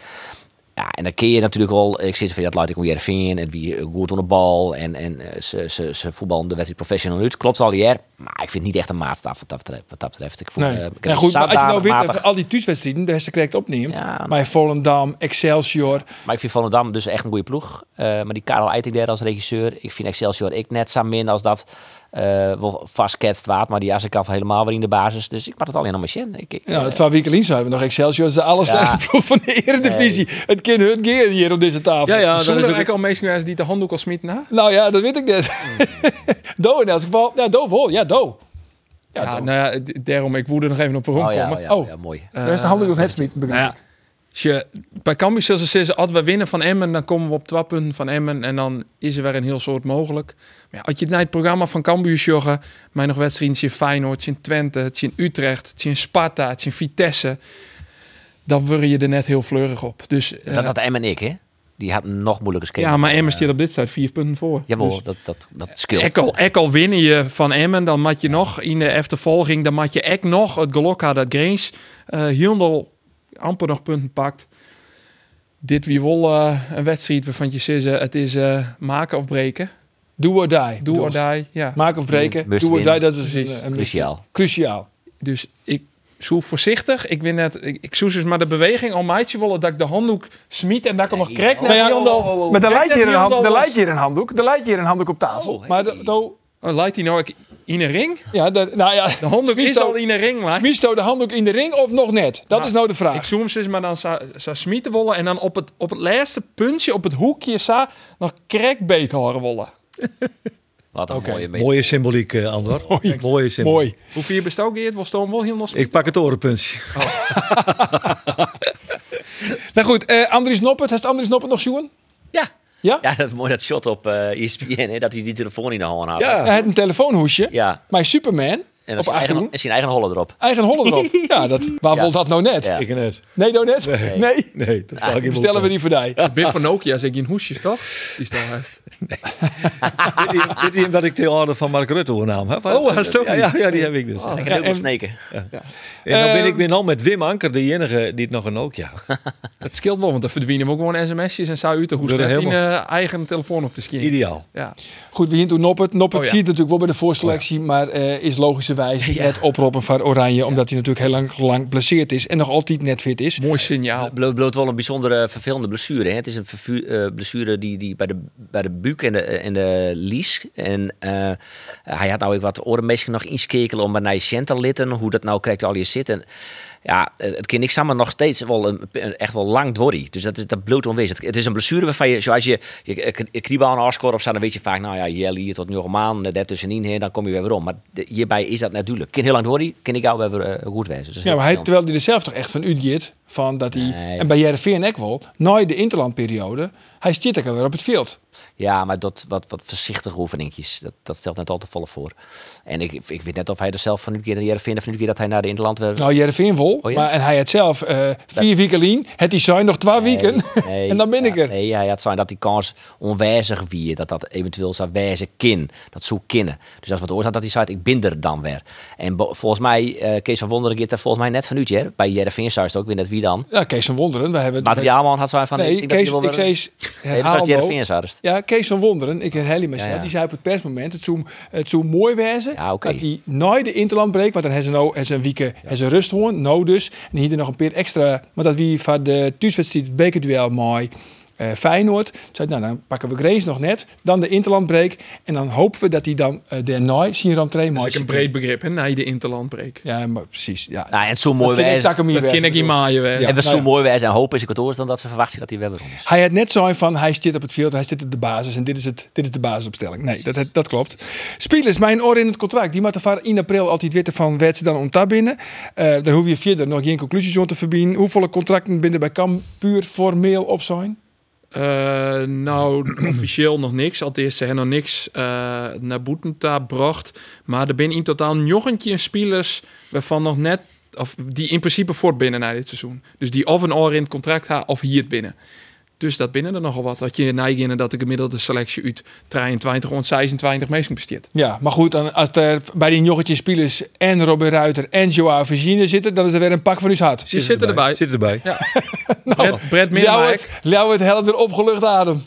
ja, en dan ken je natuurlijk al, eh, ik zit van dat laat ik om Jervin en wie eh, goed aan de bal en, en eh, ze, ze, ze voetballen de wedstrijd professional uit. Klopt al jaar, maar ik vind het niet echt een maatstaf wat dat betreft. Wat dat betreft. Ik voel, Nee. eh, ik ja, heb goed, maar als je nou zodanig weet matig- dat al die thuiswedstrijden de hersen correct opneemt. Ja. Bij Volendam, Excelsior. Maar ik vind Volendam dus echt een goede ploeg. Eh, maar die Karel Eiting daar als regisseur. Ik vind Excelsior ik net zo min als dat eh wel vastketst waard. Maar die Assekamp helemaal weer in de basis. Dus ik maak het alleen nog maar zin. Ik, ik, Ja, eh, het van Wiekelien zijn we nog Excelsior. is de allerslechtste Ja. ploeg van de Eredivisie. Het kind hun keer hier op deze tafel. Ja, ja, Zullen dat er is ook... eigenlijk al mensen geweest die de handdoek al smit na? Nou ja, dat weet ik net. [LAUGHS] Do in elk geval. Ja, Do vol. Ja, Do. Ja, nou ja, d- daarom, ik woede nog even op waarom oh ja, komen. oh ja, Oh. ja, mooi. Eh, Dat is de handel nog net smiet. nou ja, als je, bij Cambuur zullen ze zeggen, als we winnen van Emmen, dan komen we op 12 punten van Emmen. En dan is er weer een heel soort mogelijk. Maar ja, als je naar het programma van Cambuur joggen, mij nog wedstrijden zien Feyenoord, zien Twente, het zien Utrecht, het zien Sparta, het zien Vitesse. Dan word je er net heel fleurig op. Dus, eh, dat had Em en ik, hè? Die had een nog moeilijker schema. ja, maar Emmen staat op dit stuit vier punten voor. Jawel, Dus- dat, dat, dat scheelt. Ekkel, Ekkel winnen je van Emmen, dan mat je nog in de eftervolging, dan mat je Ek nog het gelok had dat Grains eh Hiondel amper nog punten pakt. Dit wie wol eh, een wedstrijd waarvan je zegt, eh, het is eh, maken of breken. Do or die. Do or Doelst. die, ja. Maken of breken. Must Do or winnen. die, dat is Precies. een- een- Cruciaal. cruciaal. Dus ik zoek voorzichtig. Ik ben net, ik, ik zoek dus maar de beweging al maatje willen dat ik de handdoek smiet en dat ik hem nog krijg naar Oh, Hiondel. Maar daar Kijk leidt net hier een hand- Hiondel daar los. leidt hier een handdoek. Daar leidt hier een handdoek op tafel. Oh, hey. Maar de- do- Oh, leidt hij nou ook in een ring? ja, de- nou ja. De handdoek Smiet is ook- al in een ring, maar. Smiet do de handdoek in de ring of nog net? Dat is nou de Ik vraag. zoom ze maar dan zou zou smieten wollen en dan op het, op het laatste puntje, op het hoekje, zou nog crackbeet horen wollen. Wat een mooie mening. Mooie symboliek, eh, Andor. Mooie symboliek. Mooi. Hoe vier bestoken je het? Wil stoom wel heel nog Ik pak het orenpuntje. Nou goed, eh Andries Noppert. Heeft Andries Noppert nog zoen? Ja. Ja? Ja, dat mooi dat E shot op eh ESPN, hè, dat hij die telefoon in de hand had. Ja. Hij had een telefoonhoesje. Ja. Maar Superman, En dan Op is zijn, 18? eigen, is zijn eigen hollen erop. Eigen hollen [LAUGHS] erop. Ja, dat, waar wil dat nou net? Ja. Ik net. Nee, nou net? Nee. Nee. Nee, dat ga ik niet Bestellen we die voor die. De Bib van Nokia zit in hoesjes, toch? Die stel heeft. Dit is omdat ik de orde van Mark Rutte naam heb. Oh, dat is het ook ja, ja, ja, die heb ik dus. Ik ga ook sneken. En dan ben Ehm, ik weer al met Wim Anker, de enige die het nog een Nokia. Dat scheelt wel, want dan verdwijnen we ook gewoon sms'jes en zou u te hoesten Door de net in helemaal- eh, eigen telefoon op te schieten. Ideaal. Ja. Goed, we hier toen Noppert. Noppert Oh ja. ziet natuurlijk wel bij de voorselectie, Oh maar eh, is logischerwijs het oproppen van Oranje, omdat hij natuurlijk heel lang, lang geblesseerd is en nog altijd net fit is. Mooi signaal. Bloot, bloot wel een bijzondere vervelende blessure. Hè? Het is een vervu- eh, blessure die, die bij, de, bij de buik en de, en de lies. En eh, hij had nou ook wat orenmeesken nog inskekelen om naar je center litten. Hoe dat nou krijgt al je zitten. Ja, eh, het kind ik samen nog steeds wel een, een- echt wel lang dorrie. Dus dat is dat bloot onwezen. Het is een blessure waarvan je, zoals je, je, je kriebaan afscoort of zo, dan weet je vaak, nou ja, Jelly hier tot nu een maand, daartussenin heen, dan kom je weer weer om. Maar de- hierbij is dat natuurlijk. Kind heel lang dorrie, kind ik jou weer eh, goed wezen. Dus Ja, maar hij, heel terwijl hij er zelf toch echt van uitgeeft, van dat hij, Nee. en bij Jereveen ook wel, na de interlandperiode, hij zit er weer op het veld. Ja, maar dat wat, wat voorzichtige oefeningjes, dat, dat stelt net al te volle voor. En ik, ik weet net of hij er zelf van nu keer naar Heerenveen of nu keer dat hij naar de Interland... werd. Nou, Jereveen vol, Oh ja? maar en hij het zelf eh, vier weken lien, het is zijn nog twee weken, [LAUGHS] nee, en dan ben ik ja, er. Nee, hij had zijn dat die kans onwijzig wie, dat dat eventueel zou wijzen kin, dat zoek kinnen. Dus dat is wat oorzaak dat hij zei, ik ben er dan weer. En bo- volgens mij, eh Kees van Wonderen gaat er volgens mij net van uit, hè? bij Heerenveen zou het ook weer net wie dan. Ja, Kees van Wonderen, we hebben het. Materiaalman had zijn van... nee, dat Kees, hij wel ik zei, weer- Nee, dat herhaal zou Mo. Heerenveen zouden. Ja, Kees van Wonderen, ik herhaal hem mezelf, Ja, ja. die zei op het persmoment, het zou, het zou mooi wezen Ja, oké. dat hij nooit de interland breekt, want dan hebben ze nou hebben ze een week hebben ze rust hoorn, nou dus. En hier er nog een paar extra, maar dat wie van de thuiswedstrijd het bekerduel mooi eh Feyenoord, Toen zei hij, nou dan pakken we Grace nog net, dan de interland break en dan hopen we dat hij dan eh de Nooi zien rentree Dat mooi. is ook een breed begrip, hè? Na de interlandbreek. Ja, maar precies. Ja. Nou, en het zo mooi Dat vind ik wijzen. takken meer Dat ken wijzen. ik niet maaien, hè? en we nou zo ja. mooi wijzen en hopen is ik het oorzaak dan dat ze verwachten dat hij weer weer om is. Hij had net zo van hij zit op het veld, hij zit op de basis en dit is, het, dit is de basisopstelling. Nee, dat, dat klopt. Spielers, mijn oor in het contract, die moeten vaar in april altijd weten van wet ze dan ontdekt binnen. Eh daar hoef je verder nog geen conclusies aan te verbinden. Hoeveel contracten binnen bij Kamp puur formeel op zijn? Eh, nou, [CLEARS THROAT] officieel nog niks. Althans, ze hebben nog niks eh, naar Boetenta gebracht. Maar er zijn in totaal jochentje spelers waarvan nog net... Of die in principe voort binnen na dit seizoen. Dus die of een oor in het contract ha of hier het binnen. Dus dat binnen er nogal wat. Dat je neigen dat de gemiddelde selectie uit 23 rond 26 meestal besteedt. Ja, maar goed, dan, als er bij die jongetje spielers en Robin Ruiter en Joao Virginia zitten, dan is er weer een pak van uw hart. Die zitten erbij. Zit erbij. Brett, Brett Jou Middelwijk. het, jou het helder opgelucht adem.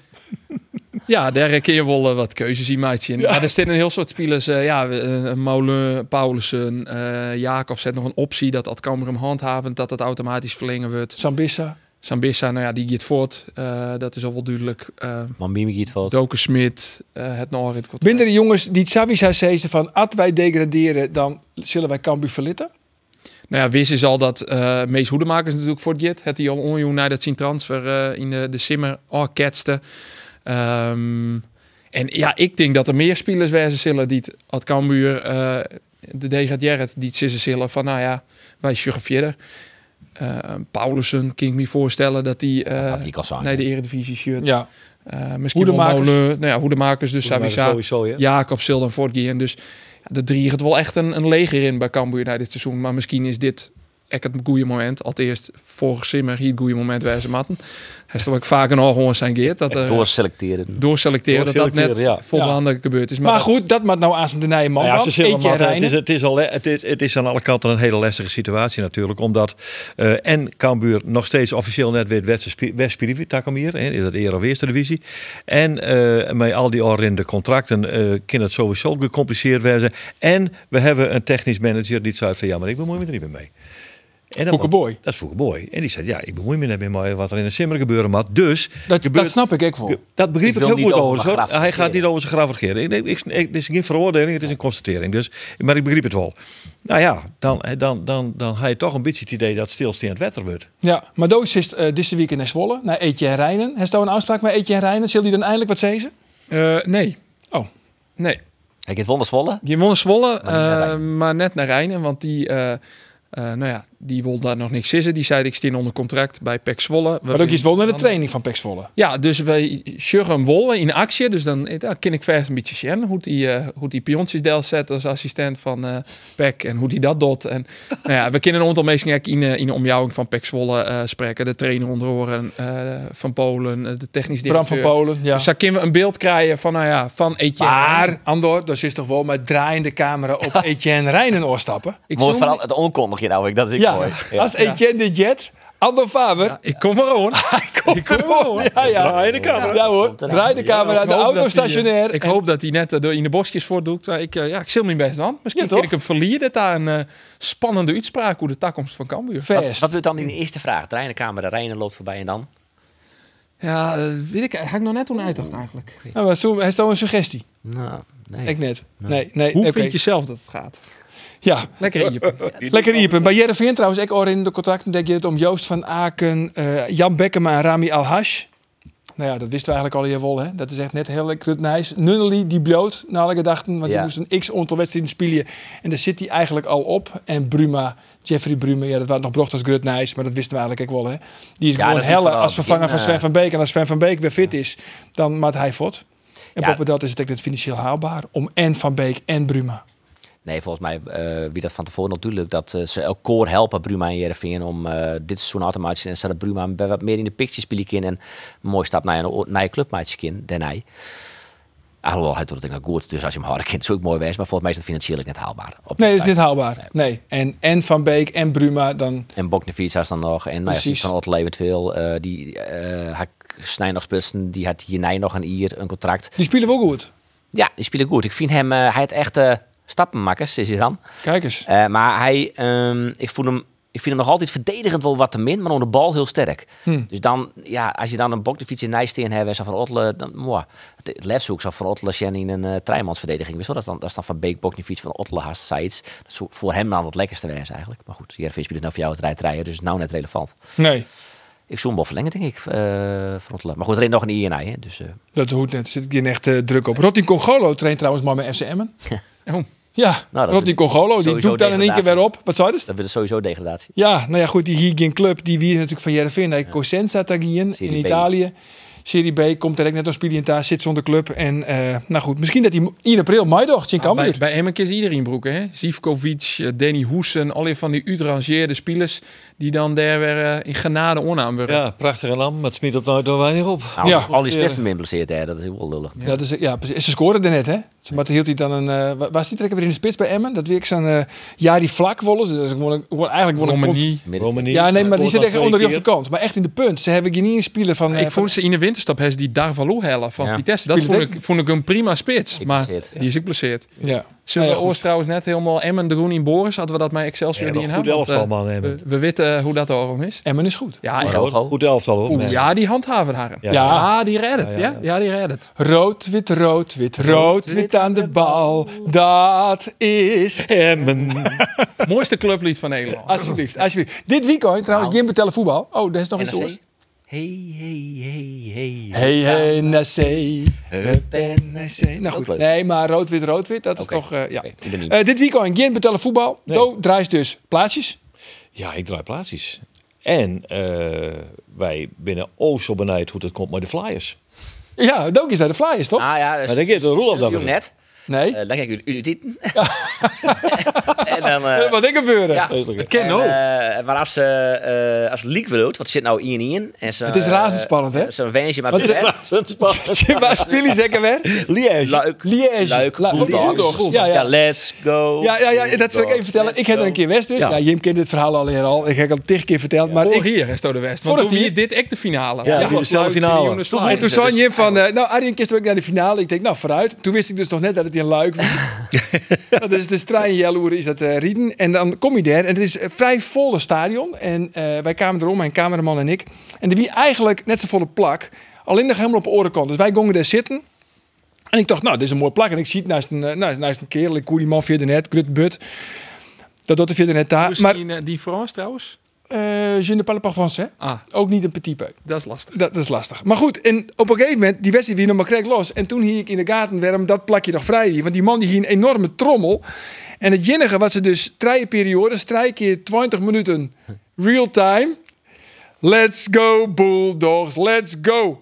Ja, daar kun je wel eh, wat keuzes in meidje. Maar er zitten een heel soort spelers. eh, ja, eh, Molen, Paulussen, eh Jacob zet nog een optie dat Adkammer hem handhavend dat dat automatisch verlengen wordt. Sambissa. Sambissa, nou ja, die gaat voort. Eh, dat is al wel duidelijk. Eh Maar Mimi Giet valt. Doken Smit, eh, het Noor in het contract. Binnen de jongens die het Sabi zei zeiden van, als wij degraderen, dan zullen wij Cambuur verlitten? Nou ja, wist is al dat eh Mees Hoedemakers natuurlijk voor het git. Het die al onjoen naar dat zien transfer eh, in de, de Simmer oh, ketste. Ehm, en ja, ik denk dat er meer spelers wijzen zullen die het at Cambuur, eh, de degradeert, die het zissen zullen van nou ja, wij suggen verder. Eh, Paulussen, kan ik me voorstellen dat die eh Ah, die kan zijn. naar de Eredivisie shirt. Ja. Eh, misschien wel Hoedemakers. Molen, nou ja, Hoedemakers, dus Maar Savisa. Sowieso, ja. Jacob zal dan voortgaan. Dus ja, de drie gaat wel echt een, een leger in bij Cambuur na dit seizoen. Maar misschien is dit echt het goede moment. Allereerst vorig Simmer hier het goede moment bij zijn matten. Hij is toch ook vaak een gewoon zijn geert. Dat Eh, er Doorselecteren. doorselecteren, dat dat net Doorselecteren, ja. voldoende gebeurd is. Maar, dat- goed, dat maakt nou aan de Nijman. Nou Ja, ja, ze zullen Eet je maar- het, is, Rijnen. het, is al, het, is, het is aan alle kanten een hele lastige situatie natuurlijk. Omdat eh, en Cambuur nog steeds officieel net weer West-Spirivi, Takamir, in de Eero Eerste Divisie. En eh, met al die orrende contracten eh kan het sowieso gecompliceerd worden. En we hebben een technisch manager die zei van ja, maar ik bemoei me er niet meer mee. En dat- Foukeboy. Dat is Foukeboy. En die zei, ja, ik bemoei me net meer mee wat er in de simmer gebeuren mag. Dus Dat, gebeurt- dat snap ik ook wel. dat begreep Ik ik wil heel niet goed over overigens. mijn hoor. graf Hij gaat niet regeren. over zijn graf regeren. Ik, ik, ik, het is geen veroordeling, het is een constatering. Dus, maar ik begreep het wel. Nou ja, dan, dan, dan, dan had je toch een beetje het idee dat stilstaand wetter wordt. Ja, maar Doos is eh deze week in Zwolle naar Eetje en Rijnen. Heeft daar een afspraak met Eetje en Rijnen? Zal die dan eindelijk wat zeggen? Eh, nee. Oh. Nee. Hij gaat wonder Zwolle. Die wonnen Zwolle, Maar niet naar eh, Rijn. maar net naar Rijnen. Want die, eh, eh, nou ja, die wilde daar nog niks zitten. Die zei ik steen onder contract bij PEC Zwolle. Maar ook iets wel naar de training van Pek Zwolle. Ja, dus wij sjuggen hem wol in actie. Dus dan eh, daar kan ik vers een beetje zien hoe die, eh, hoe die piontjes deel zet als assistent van eh Peck en hoe die dat doet. En nou ja, we kennen een aantal mensen ook in, eh, in de omjouwing van Peck Zwolle eh, spreken. De trainer onder oren eh, van Polen, eh, de technisch Bram directeur. van Polen, ja. Dus daar kunnen we een beeld krijgen van, nou ja, van Etienne. Maar, Andor, dat is toch wel met draaiende camera op Etienne Rijnen oorstappen. ik, Mooi zoom- vooral het onkondig je nou, ik, dat is ik Ja, mooi. Ja. als Etienne de Jet, Andor Faber. ik kom maar gewoon. ik kom ja, ja. Draai de camera. Ja hoor, draai de camera, de Ik hoop auto dat hij, eh, stationair. Ik En- hoop dat hij net eh, door in de bosjes voordoet. Maar Ik, eh, ja, ik zil mijn best dan. Misschien Ja, kan toch? ik hem verlieren. Dat daar een eh, spannende uitspraak hoe de toekomst van Cambuur. Vast. Wat wordt dan in de eerste vraag? Draai de camera, Reiner loopt voorbij en dan? Ja, eh, weet ik, ga ik nog net toen uitdacht eigenlijk. Nou, maar zo, hij is toch een suggestie. Nou, nee. Ik net. Nee, nee. Hoe oké. vind je zelf dat het gaat? Ja, Lekker [LAUGHS] in je. lekker iepen. Bij Jereveen trouwens, ik hoor in de contracten denk je het om Joost van Aken, eh, Jan Bekkema en Rami Alhash. Nou ja, dat wisten we eigenlijk al hier wel, hè. Dat is echt net heel lekker nice. Nunnely, die bloot, naar alle gedachten, want die Ja. moest een x aantal wedstrijden spelen. En daar zit hij eigenlijk al op. En Bruma, Jeffrey Bruma, ja, dat waren nog brochters Grut Nijs, maar dat wisten we eigenlijk ook wel, hè. Die is Ja, gewoon dat is helle vanaf als het vervanger van begin, Sven eh, van Beek. En als Sven van Beek weer fit is, dan maakt hij fort. En Ja. boven dat is het ook net financieel haalbaar om en Van Beek en Bruma. Nee, volgens mij, eh, wie dat van tevoren natuurlijk, dat eh, ze elk koor helpen, Bruma en Jereveen, om eh, dit seizoen uit te maken. En zodat Bruma bij wat meer in de picture spelen kan en een mooie stap naar een, o- naar je clubmaatje kan, daarna. Alhoewel, hij doet Ah, het ook goed, dus als je hem harder kent, is het ook mooi wijs. Maar volgens mij is het financieel ook net haalbaar. Op dit Nee, dat is stadium. niet haalbaar. Nee. En, en Van Beek en Bruma dan. En Boknevica is dan nog. En nou ja, Precies. van Otley eventueel. eh die eh had Snij nog spitsen. Die had Jenij nog een Ier, een contract. Die spelen wel goed. Ja, die spelen goed. Ik vind hem, eh, hij heeft echt eh, stappenmakkers, is hij dan. Kijk eens. Eh, maar hij, ehm, ik, voel hem, ik vind hem nog altijd verdedigend wel wat te min, maar onder de bal heel sterk. Dus dan, ja, als je dan een Boknevica en Nijsteen hebt en zo van Otle, dan, moi, het- het lefzoek zou van Otle zijn in een eh Trijmansverdediging. Weet je wel, dat, dan, dat is dan van Beek, Boknevica, van Otle, Haast, Sites. Dat is voor hem dan het lekkerste wijs eigenlijk. Maar goed, Jervis speelt nou voor jou het rijtrijden, dus nou net relevant. Nee, Ik zoom wel verlengen, denk ik, eh van Ottela. Maar goed, er is nog een INI, hè. Dus, eh, dat hoeft net. Daar zit ik hier echt eh, druk op. Rotin Congolo traint trouwens maar met FC Emmen. Oh. Ja, Nou, dat Rotin doet- Congolo. Die sowieso doet dan in één keer weer degradatie. op. Wat zei je? dus- dat is sowieso degradatie. Ja, nou ja, goed. Die Higien Club, die wie natuurlijk van Jereveen naar Cosenza Tagien in Serie B. Italië. Serie B komt direct net als Spilienta, zit zonder club. En eh, nou goed, misschien dat hij in april maaidag in bij, Ah, Cambuur. bij Emmen is iedereen broeken. Hè? Zivkovic, eh, Danny Hoesen, alle van die uitrangeerde spelers die dan daar weer eh, in genade onaam worden. Ja, Ah, prachtige lam, maar het smiet op nooit door weinig op. Nou, Ja. al die spitsen zijn blesseerd, hè. Dat is heel wel lullig. Ja, dat is, ja precies. Ze scoorden er net, hè? Maar toen hield hij dan een. eh, wa- waar zit er ook weer in de spits bij Emmen? Dat weet ik zo'n. eh, ja, die vlak wollen ze. Dus ik word, ik word eigenlijk word ik Romani. Midden- Romani, Ja, nee, maar die scoort zit dan echt twee onder die op de keer. kant. Maar echt in de punt. Ze hebben hier niet in spelen van. eh, ik vond ze in de winterstap hebben ze die Darvalo hellen van Ja. Vitesse. Dat Speelt vond ook. ik, vond ik een prima spits. Ik maar blesseerd. die is ook blesseerd. van- ja. Zullen Nou we ja, goed. Oost trouwens net helemaal Emmen, de Groen in Boris? Hadden we dat met Excelsior Ja, die maar in goed hebben? Want, elftal, eh, man, Emmen. We, we weten eh, hoe dat daarom is. Emmen is goed. Ja, echt. Rogo. Goed elftal, hoor. Oeh, mensen. ja, die handhaven haar. Ja, Ja, ja. die redt het. Ja, ja, die redt het. Rood, wit, rood, wit, rood, wit aan de bal. Dat is. Emmen. [LAUGHS] Mooiste clublied van Nederland. Alsjeblieft, alsjeblieft. Dit weekend trouwens, Jim vertellen voetbal. Oh, daar is nog iets NRC? hoors. Hey, hey, hey, hey. Hey, hey, NAC. Hup, NAC. Nou Ook goed, leuk. nee, maar rood, wit, rood, wit, dat is Oké. toch... eh, ja. Oké, ik ben niet. Eh, dit weekend, Jim betalen voetbal. Do draait dus plaatsjes. Ja, ik draai plaatsjes. En eh, wij binnen o zo benijd hoe dat komt met de Flyers. Ja, Dook is daar de flyers, toch? Ah ja, Maar dan geeft de Roelof dat weer. net. nee. Eh, dan kijk ik jullie [LAUGHS] dit. [LAUGHS] en dan... eh, Eh, Wat ik gebeuren. ja. Vreselijk, hè? Ken En, [LAUGHS] eh, maar als, eh eh als Leek wilt, wat zit nou in in? En zo, Het is eh, razendspannend, hè? Zo'n wensje, maar Wat is het is Ja, dat is spannend. Jim, waar speel je zeker weer? Liège. Luik. Liège. Luik. Luik. Bulldogs. Bulldogs, ja, ja. let's go. Ja, ja, ja, dat zal ik even vertellen. Ik heb er een keer West dus. Ja, Ja. Jim kent dit verhaal al hier al. Ik heb het al tig keer verteld. Maar Vorig ik, Ah, Oh, hier, Resto de West. Want Vorig toen hier- hier dit echt de finale. Ja, die was dezelfde leuk, finale. Jongens, Toen maar- en toen dus zei Jim van, eh, nou Arjen kist ook naar de finale. Ik denk, nou vooruit. Toen wist ik dus nog net dat het in Luik was. dat is de Strainjeloeren is dat eh, Rieden. En dan kom je daar en het is een vrij volle stadion. En eh, wij kwamen erom, mijn cameraman en ik. En er wie eigenlijk net zo volle plak. Alleen nog helemaal op de orenkant. Dus wij gingen daar zitten. En ik dacht, nou, dit is een mooi plak. En ik zie het naast een, eh, naast, naast een kerel. Ik koer die man via de net, grut but. Dat doet de via de net daar. Toen Maar zien, eh, die France trouwens. eh je ne parle pas français. Ah, Ook niet een petit peu. dat is lastig. Dat, dat is lastig. Maar goed, en op een gegeven moment, die wedstrijd weer nog maar kreeg los. En toen hing ik in de gaten waarom dat plakje nog vrij hier. Want die man die hier een enorme trommel. En het jinnige wat ze dus drie periodes, drie keer 20 minuten real time. Let's go Bulldogs, let's go. [LAUGHS]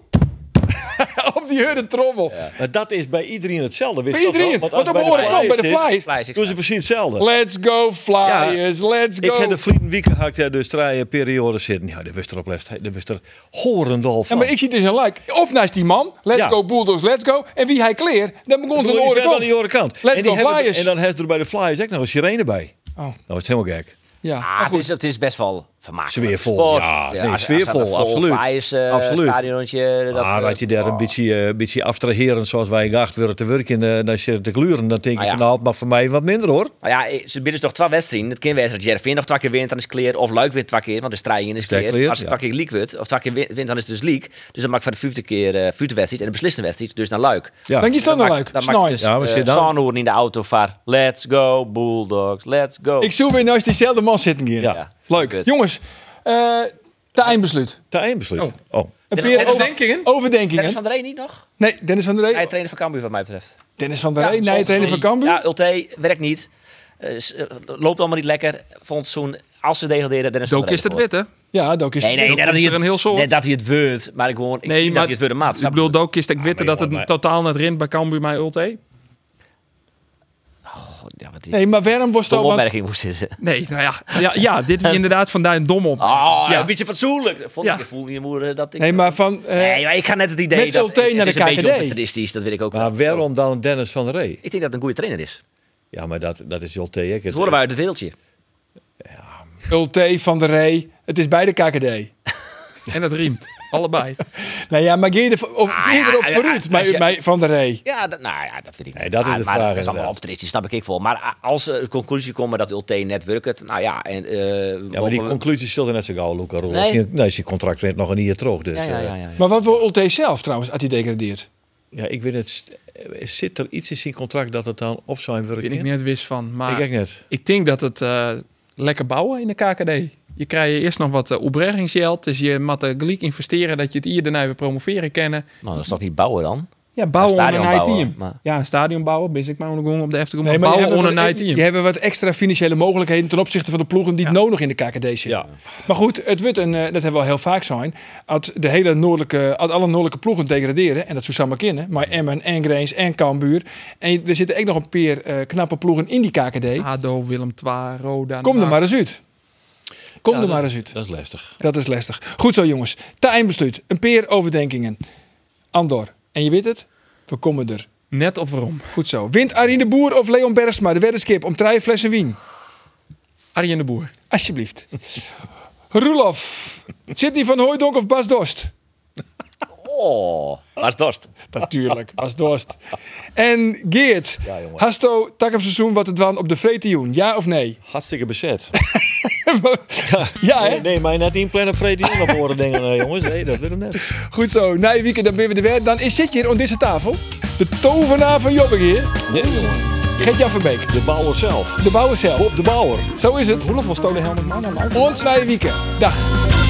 op die hurde trommel. Maar dat is bij iedereen hetzelfde. Wist Bij je dat wel? iedereen. Want als op het oren Flyers bij de is, Flyers. Flyers, ik Doen ze snap. precies hetzelfde. Let's go Flyers, let's Ik go. heb de vrienden week gehakt, ja, dus drie periodes zitten. Ja, dat wist er op les. Dat wist er horend al Ja, van. maar ik zie dus een like. Of naast die man, let's Ja. go Bulldogs, let's go. En wie hij kleer, dan begon ze Doe een die oren verder aan kant. die andere kant. Let's en die go hebben- Flyers. En dan heeft er bij de Flyers ook nog een sirene bij. Nou, Oh. Dat was helemaal gek. Ja, maar Ah, het, goed. is, het is best wel vermakelijk. Sfeervol, Sport. ja, nee, als- als sfeervol, dat vol absoluut. Flyers, eh, Absoluut. stadionnetje, dat, Maar eh, Ah, dat je daar een beetje, eh, beetje abstraherend, zoals wij geacht werden te werken, eh, dan zit te gluren. Dan denk je Ah, ja. van nou, het mag voor mij wat minder hoor. Nou ja, eh, ze binnen toch twee wedstrijden. Het kind dat Jervin nog twee keer wint, dan is het kleer. Of Luik wint twee keer, want de strijd in is Twee kleer. keer, Als het ja. twee keer leak wordt, of twee keer win- wint, dan is het dus leak. Dus dan maakt van de vijfde keer eh vijfde wedstrijd en de beslissende wedstrijd dus naar Luik. Ja. Denk je dan nog leuk? Dan maakt Snij. dus Ja, maar eh, zit dan- Sanhoorn in de auto van let's go Bulldogs, let's go. Ik zie weer naast diezelfde man zitten hier. Ja. Leuk. Kut. Jongens, eh de eindbesluut. Te eindbesluit. Oh. Een Dennis- peer Dennis over- Denkingen? Dennis overdenkingen. van der Rey niet nog? Nee, Dennis van der Hij Rey. trainer van Cambuur wat mij betreft. Dennis van der Rey, nee, soms- trainer van Cambuur. Ja, Ulte werkt niet. Eh, s- eh, loopt allemaal niet lekker. Volgens zo'n als ze degraderen, Dennis van Dook der is Rey het wit, hè? Ja, dat is Nee, nee, Dook dat, is hij er een heel het, soort. nee, dat hij het wordt. Maar ik gewoon, ik Nee, vind maar- dat hij het wordt maat. Ik bedoel, Dook is het witte maar dat het jongen, maar- totaal net rint bij Cambuur mij Ulte. ja, wat is Nee, maar waarom was de dat? Want opmerking moest ze. Nee, nou [LAUGHS] ja. Ja, ja dit is inderdaad vandaar een dom op. Oh, Ah, Ja. een beetje fatsoenlijk. Vond Ja. ik, voelde je moeder dat ik... Nee, maar van... eh, Nee, maar ik ga net het idee Met dat... Ulte het naar is de een beetje KKD. opportunistisch, dat weet ik ook wel. Maar waarom dan Dennis van der Rey? Ik denk dat het een goede trainer is. Ja, maar dat, dat is Jolte. hè. Ik- Dat horen wij uit het wereldje. Ulte, van der Rey. Het is bij de KKD. En het riemt. [LAUGHS] Allebei. Nou ja, maar geer er, of, Ah, geer ja, erop ja, vooruit als bij, je- bij Van der Rey. Ja, dat, nou ja, dat weet ik niet. Nee, dat is Ah, de vraag, maar dat is allemaal inderdaad. opportunistisch, snap ik wel. Maar ah, als ze de conclusie komen dat Ulte net werkt, nou ja... En, eh, Ja, maar die mogen we- conclusies zullen net zo gauw, Luca Roel. Nee. Nee. nee, zijn contract rent nog een jaar terug. Dus, Ja, ja, eh, ja, ja. Maar wat wil Ulte zelf trouwens, als hij degradeert? ja, ik weet het. st- eh, Zit er iets in zijn contract dat het dan op zijn werk Daar ben ik in? net wist van. Ik Maar denk net. ik denk dat het eh, lekker bouwen in de KKD. Je krijgt eerst nog wat uh, opbrengingsgeld. Dus je moet er gelijk investeren dat je het hier daarna weer promoveren kennen. Nou, dat is toch niet bouwen dan? Ja, bouwen Een onder stadion een high bouwen, team. maar- Ja, een stadion bouwen. Ben ik maar gewoon op de Efteling. Nee, maar maar je bouwen hebt onder een wat- high team. Je hebt wat extra financiële mogelijkheden ten opzichte van de ploegen die het nodig in de KKD zitten. Ja. Maar goed, het wordt een, eh, dat hebben we al heel vaak zijn. Als de hele noordelijke, als alle noordelijke ploegen degraderen, en dat zou samen kennen, maar Emmen en Grains en Cambuur. En er zitten ook nog een paar eh, knappe ploegen in die KKD. Ah, ADO, Willem II, Roda. Kom er NAC. maar eens uit. Kom nou. Ja, er maar eens uit. Dat is lastig. Dat is lastig. Goed zo, jongens. Te eindbesluit. Een peer overdenkingen. Andor. En je weet het, we komen er. Net op waarom. Goed zo. Wint Arine de Boer of Leon Bergsma de weddenskip om drie flessen wien? Arjen de Boer. Alsjeblieft. [LAUGHS] Roelof, Sidney van Hooijdonk of Bas Dost? Oh, waar is Dorst? Natuurlijk, Bas Dost. En Geert, Hasto, takken seizoen wat het dan op de Vreetioen, ja of nee? [LAUGHS] Hartstikke [LAUGHS] bezet. ja, hè? Nee, nee, maar net inplannen op Freddy op horen dingen, eh, jongens. Nee, dat wil hem net. Goed zo. Na je weekend, dan ben we er weer. Dan is zit je hier aan deze tafel. De tovenaar van Jobbing hier, Nee, jongen. Gert-Jan Verbeek. De bouwer zelf. De bouwer zelf. Bob de bouwer. Zo is het. nou Hoeveel stolen Helmut Mann aan Ons na je weekend. Dag.